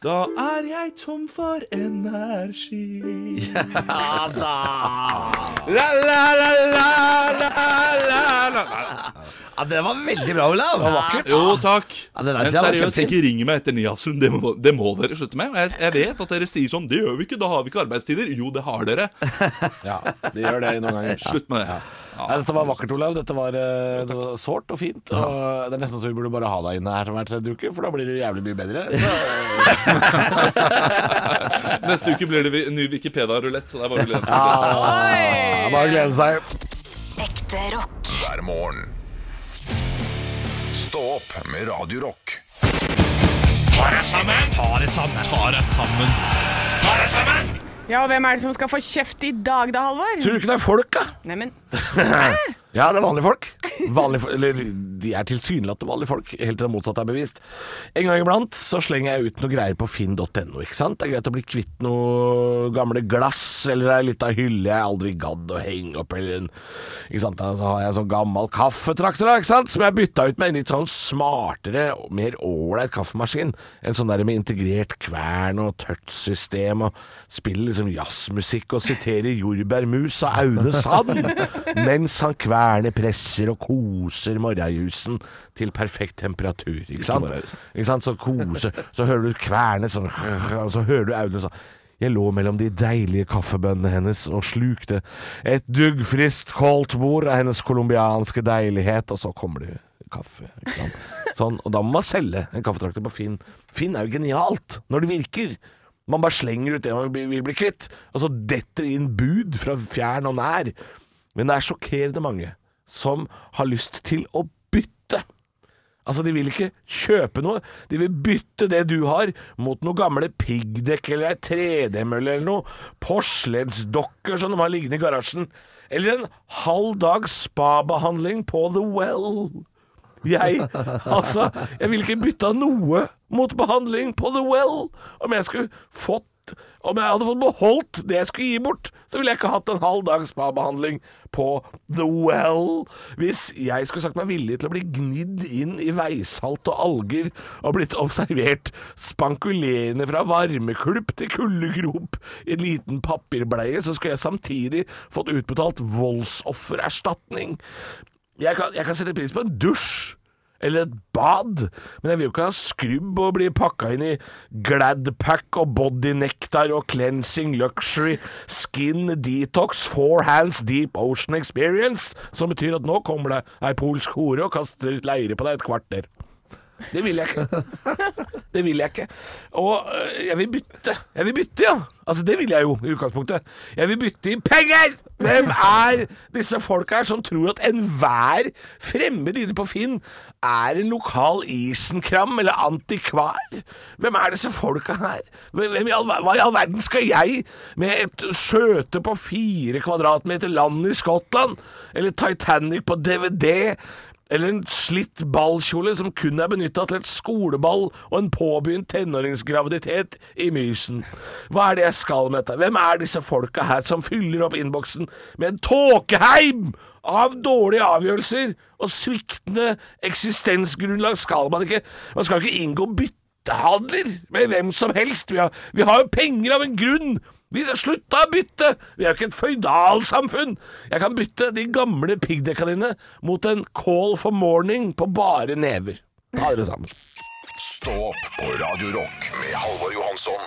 [SPEAKER 10] Da er jeg tom for energi. La, la, la, la, la, la, la.
[SPEAKER 3] Ja, det var veldig bra, Olav. Det var vakkert.
[SPEAKER 10] Jo, takk.
[SPEAKER 3] Ja, det der
[SPEAKER 10] Men
[SPEAKER 3] synes jeg var
[SPEAKER 10] seriøst,
[SPEAKER 3] kjempefint.
[SPEAKER 10] ikke ring meg etter Niasrud. Det, må- det må dere slutte med. Og Jeg, jeg vet at dere sier sånn Det gjør vi ikke, da har vi ikke arbeidstider. Jo, det har dere.
[SPEAKER 1] Ja, det gjør det noen ganger.
[SPEAKER 10] Slutt med det.
[SPEAKER 1] Nei, dette var vakkert, Olav. Dette var, eh, det var sårt og fint. Og det er nesten så vi burde bare ha deg inne her hver tredje uke, for da blir det jævlig mye bedre. Så,
[SPEAKER 10] Neste uke blir det vi- ny Wikipedia-rulett, så det er bare å glede seg.
[SPEAKER 1] ja, bare å glede seg.
[SPEAKER 6] Ekte rock.
[SPEAKER 7] hver morgen. Stå opp med Radio Rock.
[SPEAKER 2] Ja, og hvem er det som skal få kjeft i dag da, Halvor?
[SPEAKER 1] Tror du ikke det er folk, da?
[SPEAKER 2] Neimen,
[SPEAKER 1] Ja, det er vanlige folk. Vanlige, fo- eller, de er tilsynelatende vanlige folk, helt til det motsatte er bevist. En gang iblant så slenger jeg ut noe greier på finn.no. ikke sant? Det er greit å bli kvitt noe gamle glass, eller ei lita hylle jeg aldri gadd å henge opp, eller en ikke sant? Da Så har jeg sånn gammel kaffetrakter da, ikke sant? som jeg bytta ut med en litt sånn smartere, og mer ålreit kaffemaskin. En sånn der med integrert kvern og touchsystem, og spiller liksom jazzmusikk og siterer jordbærmus av Aune Sand mens han kverner, presser og koser morgenjusen til perfekt temperatur. Ikke sant? Ikke sant? Så koser, så hører du kverne sånn, og så hører du Aune sånn jeg lå mellom de deilige kaffebønnene hennes og slukte et duggfriskt koldtbord av hennes colombianske deilighet, og så kommer det kaffe. Ikke sant? Sånn, og da må man selge en kaffetrakter på Finn. Finn er jo genialt når det virker. Man bare slenger ut det man vil vil bli kvitt, og så detter det inn bud fra fjern og nær. Men det er sjokkerende mange som har lyst til å bytte. Altså, de vil ikke kjøpe noe. De vil bytte det du har, mot noe gamle piggdekk eller ei 3D-mølle eller noe. Porselensdokker som de har liggende i garasjen. Eller en halv dags spabehandling på The Well. Jeg Altså, jeg ville ikke bytta noe mot behandling på The Well. Om jeg skulle fått Om jeg hadde fått beholdt det jeg skulle gi bort, så ville jeg ikke hatt en halv dags spabehandling på The Well. Hvis jeg skulle sagt meg villig til å bli gnidd inn i veisalt og alger og blitt observert spankulerende fra varmeklubb til kuldegrop i en liten papirbleie, så skulle jeg samtidig fått utbetalt voldsoffererstatning. Jeg kan, jeg kan sette pris på en dusj eller et bad, men jeg vil jo ikke ha skrubb og bli pakka inn i Gladpack og Body Nectar og Cleansing Luxury Skin Detox Four Hands Deep Ocean Experience, som betyr at nå kommer det ei polsk hore og kaster leire på deg et kvarter. Det vil jeg ikke. <laughs> Det vil jeg ikke. Og øh, jeg vil bytte. Jeg vil bytte, ja. Altså, det vil jeg jo, i utgangspunktet. Jeg vil bytte i penger! Hvem er disse folka her som tror at enhver fremmed inne på Finn er en lokal isenkram eller antikvar? Hvem er disse folka her? Hvem hvem i all, ver- hva i all verden skal jeg med et skjøte på fire kvadratmeter land i Skottland, eller Titanic på DVD, eller en slitt ballkjole som kun er benytta til et skoleball og en påbegynt tenåringsgraviditet i Mysen. Hva er det jeg skal med dette? Hvem er disse folka her som fyller opp innboksen med en tåkeheim av dårlige avgjørelser og sviktende eksistensgrunnlag? Skal man ikke Man skal ikke inngå byttehandler med hvem som helst. Vi har, vi har jo penger av en grunn. Vi skal slutte å bytte! Vi er jo ikke et føydalsamfunn! Jeg kan bytte de gamle piggdekka dine mot en call for morning på bare never. Ta dere sammen.
[SPEAKER 7] Stå opp på Radio Rock med Halvor Johansson,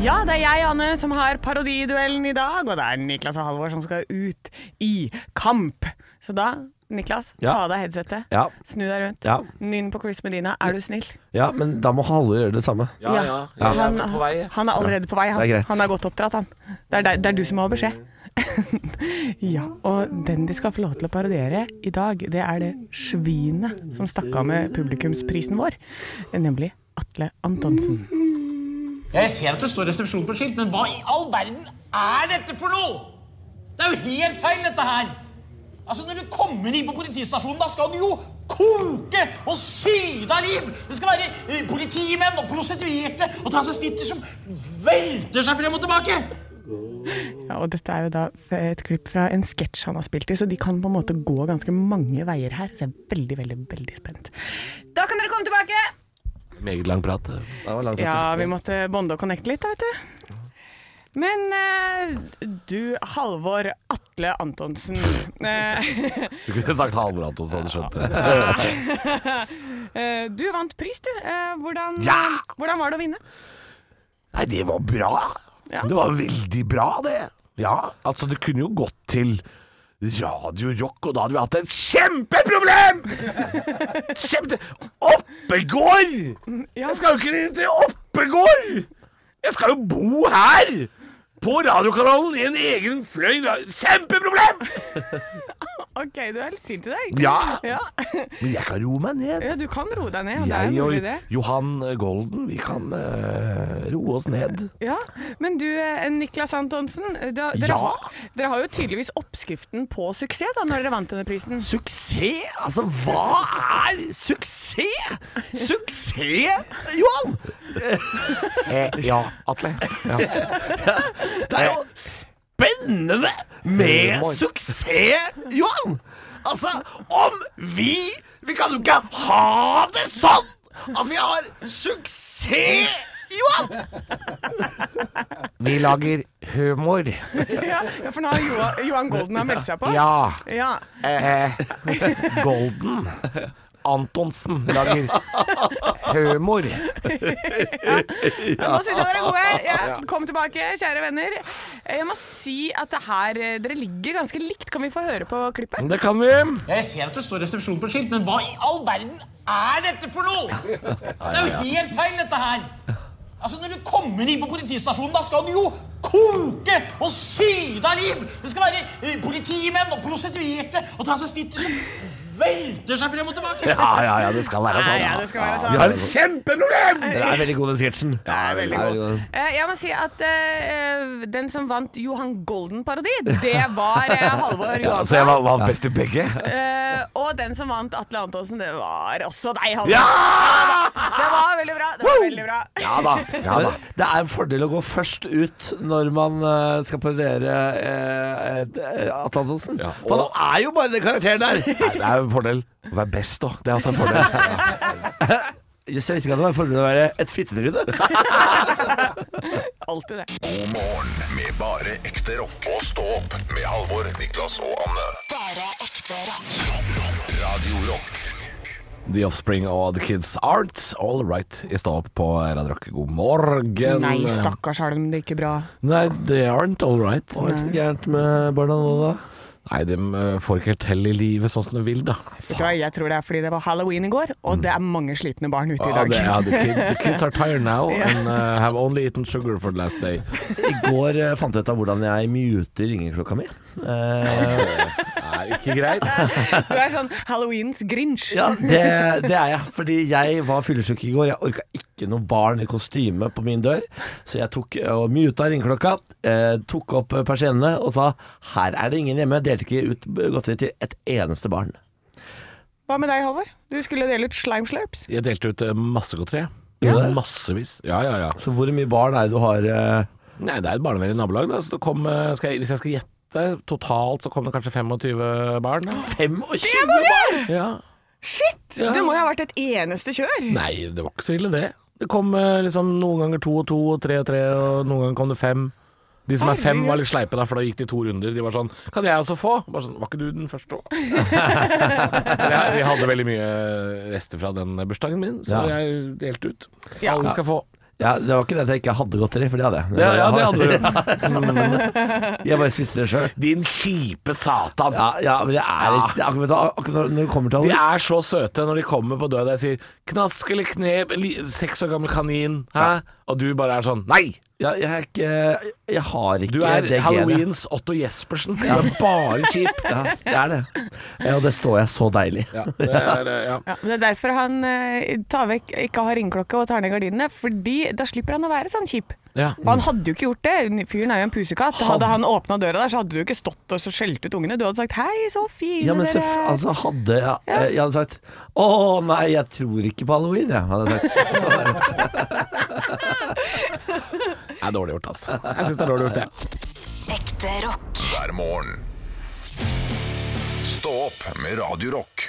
[SPEAKER 2] ja, det er jeg, Anne, som har parodiduellen i dag, og det er Niklas og Halvor som skal ut i kamp. Så da, Niklas,
[SPEAKER 3] Ja.
[SPEAKER 2] ta av deg headsetet.
[SPEAKER 3] Ja.
[SPEAKER 2] Snu deg rundt.
[SPEAKER 3] Ja.
[SPEAKER 2] Nynn på Chris Medina. Er du snill?
[SPEAKER 3] ja, men da må alle gjøre det samme.
[SPEAKER 2] Ja, Han, han er allerede på vei. Han
[SPEAKER 3] Det er greit.
[SPEAKER 2] Han er godt oppdratt, han. Det er, deg- det er du som har beskjed. <laughs> ja, og den de skal få lov til å parodiere i dag, det er det svinet som stakk av med publikumsprisen vår, nemlig Atle Antonsen.
[SPEAKER 11] Jeg ser at det står resepsjon på skilt, men hva i all verden er dette for noe? Det er jo helt feil, dette her. Altså, Når du kommer inn på politistasjonen, da skal du jo koke og syde av liv! Det skal være eh, politimenn og prostituerte og transvestitter som velter seg frem og tilbake!
[SPEAKER 2] Ja, og dette er jo da et klipp fra en sketsj han har spilt i, så de kan på en måte gå ganske mange veier her. Så jeg er veldig, veldig, veldig spent. Da kan dere komme tilbake!
[SPEAKER 1] Meget lang prat. Det var lang prat.
[SPEAKER 2] Ja, vi måtte bonde og connecte litt, da, vet du. Men eh, du, Halvor Atle
[SPEAKER 1] <laughs>
[SPEAKER 2] Antonsen eh,
[SPEAKER 1] Du kunne sagt Halvor Antonsen, hadde skjønt det.
[SPEAKER 2] eh, Du vant pris, du. Eh, hvordan,
[SPEAKER 1] Ja!
[SPEAKER 2] hvordan var det å vinne?
[SPEAKER 1] Nei, det var bra.
[SPEAKER 2] Ja.
[SPEAKER 1] Det var veldig bra, det. Ja, altså det kunne jo gått til Radio Rock, og da hadde vi hatt et
[SPEAKER 2] <laughs>
[SPEAKER 1] kjempeproblem! Kjempe... Oppegård! Jeg skal jo ikke til Oppegård! Jeg skal jo bo her! På radiokanalen i en egen fløy. Kjempeproblem!
[SPEAKER 2] OK, du er litt sint i dag.
[SPEAKER 1] Ja.
[SPEAKER 2] ja. <laughs>
[SPEAKER 1] Men jeg kan roe meg ned.
[SPEAKER 2] Ja, du kan roe deg ned. og det er
[SPEAKER 1] Jeg
[SPEAKER 2] en
[SPEAKER 1] og
[SPEAKER 2] mulig det.
[SPEAKER 1] Johan Golden, vi kan eh, roe oss ned.
[SPEAKER 2] Ja, Men du, eh, Niklas Antonsen. eh, Da, dere,
[SPEAKER 1] Ja!
[SPEAKER 2] dere har jo tydeligvis oppskriften på suksess da, når dere vant denne prisen.
[SPEAKER 1] Suksess? Altså, hva er suksess? Suksess, Johan? Eh, ja, Atle.
[SPEAKER 12] Det er jo spennende med suksess, Johan! Altså, om vi Vi kan jo ikke ha det sånn at vi har suksess, Johan!
[SPEAKER 1] Vi lager humor.
[SPEAKER 2] Ja, <laughs> ja, for nå har Johan, Johan Golden har meldt seg på.
[SPEAKER 1] Ja.
[SPEAKER 2] ja.
[SPEAKER 1] Eh, Golden Antonsen lager humor.
[SPEAKER 2] Ja, nå syns jeg dere er gode. Ja, kom tilbake, kjære venner. Jeg må si at det her eh, Dere ligger ganske likt. Kan vi få høre på klippet?
[SPEAKER 1] Det kan vi.
[SPEAKER 11] Jeg ser at det står resepsjon på et skilt, men hva i all verden er dette for noe?! Det er jo helt feil, dette her! Altså, Når du kommer inn på politistasjonen, da skal du jo koke og syde av liv! Det skal være eh, politimenn og prostituerte og transvestitter som velter seg frem og tilbake!
[SPEAKER 1] Ja, ja, ja, det skal være
[SPEAKER 2] Ja,
[SPEAKER 1] sånn.
[SPEAKER 2] ja, det skal være
[SPEAKER 1] Ja,
[SPEAKER 2] sånn.
[SPEAKER 1] Vi har et kjempeproblem!
[SPEAKER 2] Den er
[SPEAKER 1] veldig god, den sketsjen. Ja,
[SPEAKER 2] veldig god. Eh, Jeg må si at eh, eh, den som vant Johan Golden-parodi, det var eh,
[SPEAKER 1] <laughs>
[SPEAKER 2] Halvor
[SPEAKER 1] Ja,
[SPEAKER 2] Johansen.
[SPEAKER 1] så jeg var, var best i begge?
[SPEAKER 2] Eh, og den som vant Atle Antonsen, det var også deg, Halvor.
[SPEAKER 1] Ja!
[SPEAKER 2] Det var veldig bra. Det var veldig bra.
[SPEAKER 1] Ja da. Ja, da.
[SPEAKER 3] Men Det er en fordel å gå først ut når man eh, skal parodiere eh, eh, Atle Antonsen. For han er jo bare den karakteren der!
[SPEAKER 1] Nei, det er jo en fordel å være best òg. Det er også en fordel.
[SPEAKER 3] Jøss, <laughs> jeg visste ikke at det var en fordel å være et fittetryne.
[SPEAKER 2] Alltid det.
[SPEAKER 7] God morgen med bare ekte rock. Og stå opp med Halvor, Niklas og Anne. Bare ekte rock. rock, rock. Radio Rock.
[SPEAKER 1] The Offspring og The Kids Arts, All Right, i stad opp på Radio Rock. God morgen.
[SPEAKER 2] Nei, stakkars Halm, det gikk ikke bra.
[SPEAKER 1] Nei, they aren't all right.
[SPEAKER 3] Hva er det som er gærent med barna nå, da?
[SPEAKER 1] Nei, de eh, får ikke helt til i livet sånn som de vil, da.
[SPEAKER 2] Vet du hva, Jeg tror det er fordi det var halloween i går, og det er mange slitne barn ute i
[SPEAKER 1] Mm. Ja,
[SPEAKER 2] dag.
[SPEAKER 1] det, ja, the, kid, the kids are tired now and eh, have only eaten sugar for the last day.
[SPEAKER 3] I går eh, fant jeg ut av hvordan jeg muter ringeklokka mi. Eh,
[SPEAKER 1] Nei, ikke greit.
[SPEAKER 2] <laughs> Du er sånn Halloweens Grinch.
[SPEAKER 3] ja, det, det er jeg. Fordi jeg var fyllesyk i går. Jeg orka ikke noe barn i kostyme på min dør, så jeg tok eh, og muta ringeklokka. Eh, tok opp persiennene og sa 'her er det ingen hjemme'. Delte ikke ut godteri til et eneste barn.
[SPEAKER 2] Hva med deg, Halvor? Du skulle dele ut slime slurps.
[SPEAKER 1] Jeg delte ut eh, masse godteri. Ja.
[SPEAKER 3] Ja.
[SPEAKER 1] Massevis. Ja, ja, ja.
[SPEAKER 3] Så hvor mye barn er det du har? eh,
[SPEAKER 1] Nei, det er et barnevennlig nabolag. Da. Så det kom, eh, skal jeg, hvis jeg skal gjette totalt, så kom det kanskje 25 barn.
[SPEAKER 2] <laughs>
[SPEAKER 3] 25
[SPEAKER 1] barn?! Ja.
[SPEAKER 2] Shit!
[SPEAKER 1] Ja.
[SPEAKER 2] Det må jo ha vært et eneste kjør.
[SPEAKER 1] Nei, det var ikke så ille, det. Det kom eh, liksom noen ganger to og to, og tre og tre, og noen ganger kom det fem. De som er fem, var litt sleipe, da, for da gikk de to runder. De var sånn Kan jeg også få? Bare sånn, Var ikke du den første <laughs> òg? Vi hadde veldig mye rester fra den bursdagen min, så
[SPEAKER 3] Ja.
[SPEAKER 1] jeg delte ut.
[SPEAKER 2] Ja.
[SPEAKER 1] Alle skal få.
[SPEAKER 3] Ja, det var ikke det at jeg ikke hadde godteri, for det hadde jeg.
[SPEAKER 1] Det, ja, det
[SPEAKER 3] <laughs>
[SPEAKER 1] hadde du.
[SPEAKER 3] Jeg bare spiste det sjøl.
[SPEAKER 1] Din kjipe satan.
[SPEAKER 3] Ja, ja, men jeg er
[SPEAKER 1] Ja.
[SPEAKER 3] ikke akkurat, akkurat når- når det kommer til
[SPEAKER 1] De
[SPEAKER 3] alle
[SPEAKER 1] er så søte når de kommer på døra og jeg sier 'knask eller knep', li- seks år gammel kanin, hæ? Og du bare er sånn 'nei'.
[SPEAKER 3] ja, jeg, er ikke, jeg har ikke
[SPEAKER 1] Du er
[SPEAKER 3] det genet.
[SPEAKER 1] Halloweens Otto Jespersen. Du er bare kjip.
[SPEAKER 3] Ja, det er det. Ja, og det står jeg så deilig.
[SPEAKER 1] Det er, eh, ja.
[SPEAKER 2] Ja, men det er derfor han eh, tar vekk, ikke har ringeklokke og tar ned gardinene, fordi da slipper han å være sånn kjip.
[SPEAKER 1] Ja.
[SPEAKER 2] Og han hadde jo ikke gjort det. Fyren er jo en pusekatt. Hadde han åpna døra der, så hadde du ikke stått og så skjelt ut ungene. Du hadde sagt 'hei, så fine
[SPEAKER 3] Ja, men
[SPEAKER 2] dere
[SPEAKER 3] selv,
[SPEAKER 2] er'.
[SPEAKER 3] altså hadde jeg, jeg hadde sagt Å nei, jeg tror ikke på halloween, jeg. Hadde jeg sagt.
[SPEAKER 1] Det er dårlig gjort, altså. Jeg syns det er dårlig gjort, det.
[SPEAKER 6] Ekte rock.
[SPEAKER 7] hver morgen. Stå opp med Radio Rock.